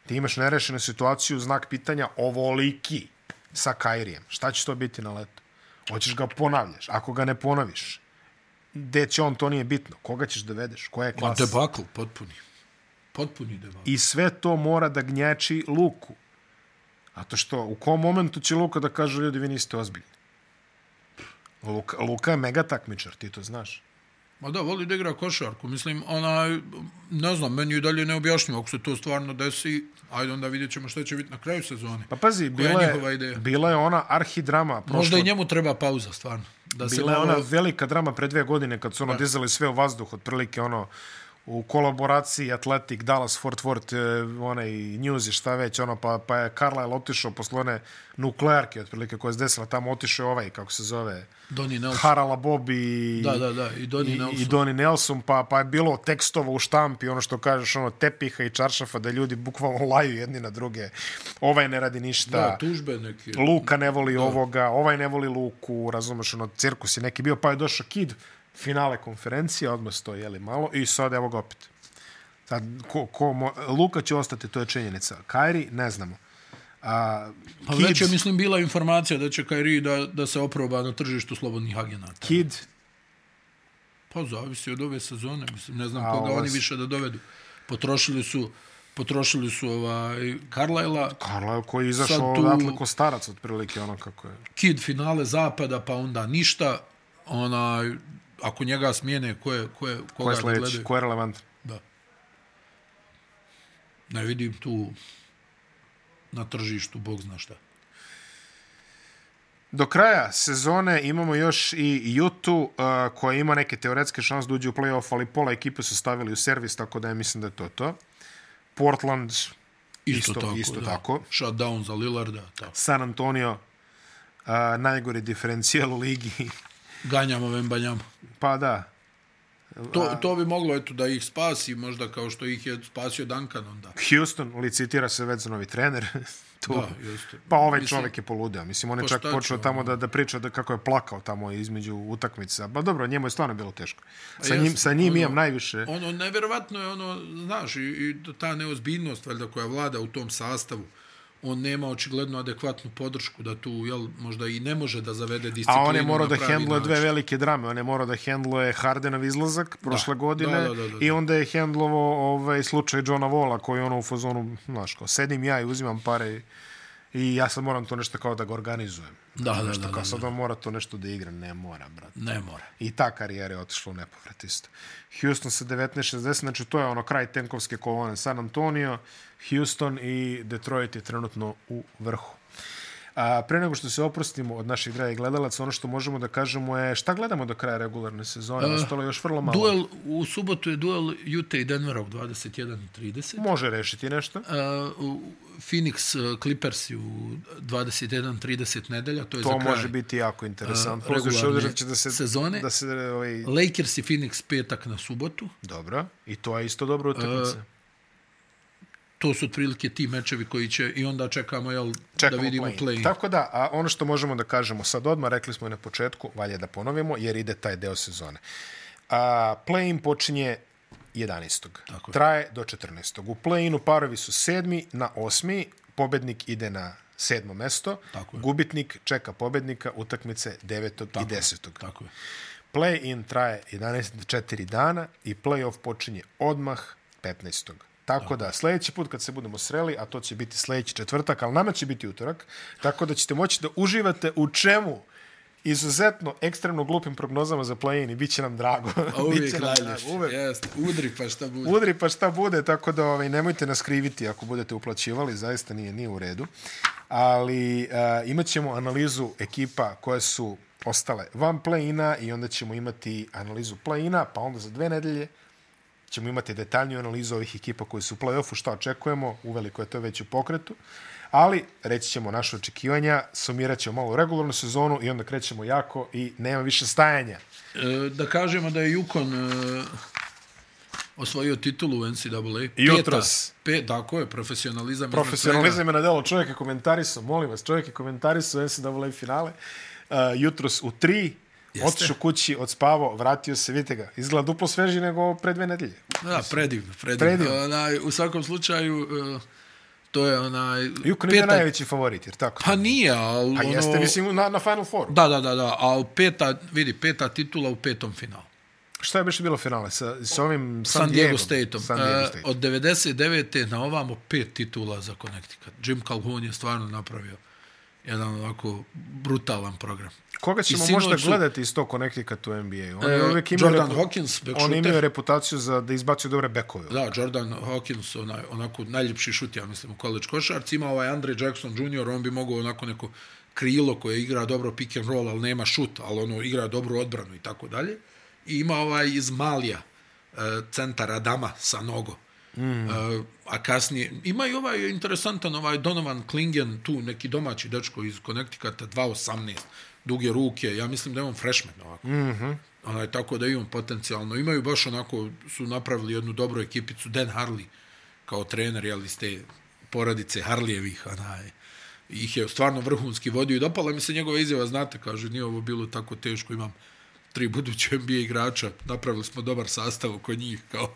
Ti imaš nerešenu situaciju, znak pitanja, ovoliki sa Kairijem. Šta će to biti na letu? Hoćeš ga ponavljaš. Ako ga ne ponoviš, gde će on, to nije bitno. Koga ćeš dovedeš? Koja je Ma klasa? debakl, potpuni. Potpuni debakl. I sve to mora da gnjači Luku. A to što, u kom momentu će Luka da kaže ljudi, vi niste ozbiljni? Luka, Luka je mega takmičar, ti to znaš. Ma da, voli da igra košarku. Mislim, onaj, ne znam, meni je dalje neobjašnjivo. Ako se to stvarno desi, ajde onda vidjet ćemo šta će biti na kraju sezone. Pa pazi, Koja je bila njihova je, ideja? bila je ona arhidrama. Možda prošle- i njemu treba pauza, stvarno. Da se Bila je malo- ona velika drama pre dve godine kad su ono dizali sve u vazduh, otprilike ono u kolaboraciji Atletic, Dallas, Fort Worth, e, onaj News i šta već, ono, pa, pa je Carlisle otišao posle one nuklearke, otprilike, koja se desila tamo, otišao je ovaj, kako se zove, Donnie Nelson. Harala Bobby i, Da, da, da, i Donnie i, Nelson. i Donnie Nelson, pa, pa je bilo tekstova u štampi, ono što kažeš, ono, tepiha i čaršafa, da ljudi bukvalno [LAUGHS] laju jedni na druge. Ovaj ne radi ništa. Da, tužbe neke. Luka ne voli ovoga, ovaj ne voli Luku, razumeš, ono, cirkus je neki bio, pa je došao Kid, finale konferencije, odmah sto, jeli malo, i sad evo ga opet. Sad, ko, ko, mo, Luka će ostati, to je činjenica. Kairi, ne znamo. A, Pa Kid, već je, mislim, bila informacija da će Kairi da, da se oproba na tržištu slobodnih agenata. Kid, Pa zavisi od ove sezone, mislim, ne znam A, koga ova oni se- više da dovedu. Potrošili su potrošili su ovaj Carlisla, Karla koji je izašao tu... Sad tu- odatle ko starac, otprilike ono kako je. kid finale zapada, pa onda ništa, onaj, ako njega smijene, ko je, ko je, Ko koga je ko da sledeći, gledaju. Ko... ko je relevantan? Da. Ne vidim tu na tržištu, bog zna šta. Do kraja sezone imamo još i Jutu uh, koja ima neke teoretske šanse da uđe u play-off, ali pola ekipe su stavili u servis, tako da ja mislim da je to to. Portland, Isto, Isto- tako, isto da. tako. Shutdown za Lillarda, tako. San Antonio, uh, najgori diferencijal u ligi. [LAUGHS] Ganjamo Vembanjama. pa da, To, to bi moglo, eto, da ih spasi, možda kao što ih je spasio Duncan onda. Houston licitira se već za novi trener. [LAUGHS] tu. Da, jeste. Pa ovaj Mislim- čovjek je poludeo. Mislim, on je Pa čak šta će počeo on? tamo da, da priča da kako je plakao tamo između utakmica. Ba dobro, njemu je stvarno bilo teško. Sa njim, jasno, sa njim ono- imam najviše. Ono, nevjerovatno je ono, znaš, i, i ta neozbiljnost valjda koja vlada u tom sastavu, on nema očigledno adekvatnu podršku da tu, jel, možda i ne može da zavede disciplinu. A on je morao da na pravi hendluje dve način. velike drame. On je morao da hendluje Hardenov izlazak prošle godine da, da, da, da. i onda je hendlovo ovaj, slučaj Johna Vola koji je ono u fazonu, znaš, kao, sedim ja i uzimam pare i, i ja sad moram to nešto kao da ga organizujem. Da, da, nešto, da, da, kao, da. sad on mora to nešto da igra. Ne mora, brate. Ne mora. I ta karijera je otišla u nepovrat isto. Houston sa 19-60, znači to je ono kraj tenkovske kolone. San Antonio, Houston i Detroit je trenutno u vrhu. A, pre nego što se oprostimo od naših dragih gledalaca, ono što možemo da kažemo je šta gledamo do kraja regularne sezone, E, ostalo je još vrlo malo. Duel, u subotu je duel Utah i Denverog 21.30. Može rešiti nešto. Uh, u- Phoenix e, Clippers je u 21.30 nedelja, to je To za kraj. može biti jako interesantno. A, Uzduš regularne obzir da će da se, sezone. Da se, ovaj, Lakers i Phoenix petak na subotu. dobro. I to je isto dobra utakmica. To su otprilike ti mečevi koji će i onda čekamo, jel, Čekamo da vidimo play-in. play. Tako da, a ono što možemo da kažemo sad odmah, rekli smo i na početku, valja da ponovimo, jer ide taj deo sezone. A, play-in počinje 11. Tako je. Traje do 14. U play-inu parovi su sedmi na osmi, pobednik ide na sedmo mesto, Tako je. gubitnik čeka pobednika utakmice 9. i 10. Tako je. Play-in traje 11 do 4 dana i play-off počinje odmah 15. Tako da, sljedeći put kad se budemo sreli, a to će biti sljedeći četvrtak, ali nama će biti utorak, tako da ćete moći da uživate u čemu izuzetno ekstremno glupim prognozama za play-in i bit će nam drago. A [LAUGHS] Bit Pa uvijek će nam lalješ. drago, Uvek. Jeste, udri pa šta bude. Udri pa šta bude, tako da ovaj, nemojte nas kriviti ako budete uplaćivali, zaista nije, nije u redu. Ali uh, imat ćemo analizu ekipa koje su ostale van play-ina i onda ćemo imati analizu play-ina, pa onda za dve nedelje ćemo imati detaljniju analizu ovih ekipa koji su u play-offu, šta očekujemo, uveliko je to već u pokretu, ali reći ćemo naše očekivanja, sumirat ćemo malo regularnu sezonu i onda krećemo jako i nema više stajanja. E, da kažemo da je Yukon e, osvojio titulu u NCAA. Jutros. Peta, pe, tako je, profesionalizam. iznad Profesionalizam je na delu. Čovjek je komentarisao, molim vas, čovjek je komentarisao NCAA finale. Uh, jutros u tri, Jeste. otišao kući, odspavao, vratio se, vidite ga. Izgleda duplo sveži nego pre dve nedelje. svega. Da, predivno, predivno. Predivno. Onaj, u svakom slučaju, e, to je onaj... Juko nije peta, najveći favorit, jer tako? pa nije, ali... Pa ono, jeste, mislim, na, na Final Fouru. Da, da, da, da, ali peta, vidi, peta titula u petom finalu. Šta je biše bilo finale? Sa, sa ovim San, San Diego Diego Stateom. San Diego State. E, od 99. na ovamo pet titula za Connecticut. Jim Calhoun je stvarno napravio jedan onako brutalan program. Koga i ćemo sinoć možda su- gledati iz tog Connecticut u NBA? Oni E, uvijek imaju, Jordan repu... Hawkins, back oni shooter. imaju reputaciju za da izbacuju dobre bekove. Da, Jordan Hawkins, onaj, onako najljepši šut, ja mislim, u college košarci. Ima ovaj Andre Jackson Jr., on bi mogao onako neko krilo koje igra dobro pick and roll, ali nema šut, ali ono igra dobru odbranu i tako dalje. I ima ovaj iz Malija, e, centar Adama sa nogo. Mm. a kasnije, ima i ovaj interesantan ovaj Donovan Klingen, tu neki domaći dečko iz Connecticuta, 2.18, duge ruke, ja mislim da je on freshman ovako. Onaj, Ono tako da imam potencijalno. Imaju baš onako, su napravili jednu dobru ekipicu. Dan Harley kao trener, jel, iz te poradice Harlijevih, onaj, ih je stvarno vrhunski vodio i dopala mi se njegova izjava, znate, kaže, nije ovo bilo tako teško, imam tri buduće NBA igrača, napravili smo dobar sastav oko njih, kao,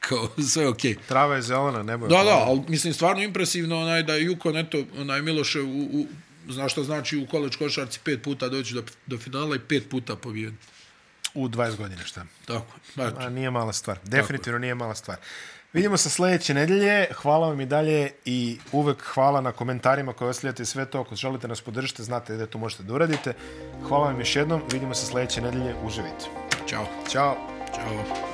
kao sve okej. Okay. Trava je zelena, nebo je Da, plavo. da, ali mislim stvarno impresivno onaj da je Jukon, eto, onaj Miloše u, u znaš šta znači u koleč košarci pet puta doći do, do finala i pet puta pobijedi. U 20 godina šta? Tako, eto. A nije mala stvar. Definitivno nije mala stvar. Vidimo se sljedeće nedelje. Hvala vam i dalje i uvek hvala na komentarima koje ostavljate i sve to. Ako želite nas podržite, znate gdje to možete da uradite. Hvala vam još jednom. Vidimo se sljedeće nedelje. Uživajte. Ćao. Ćao. Ćao.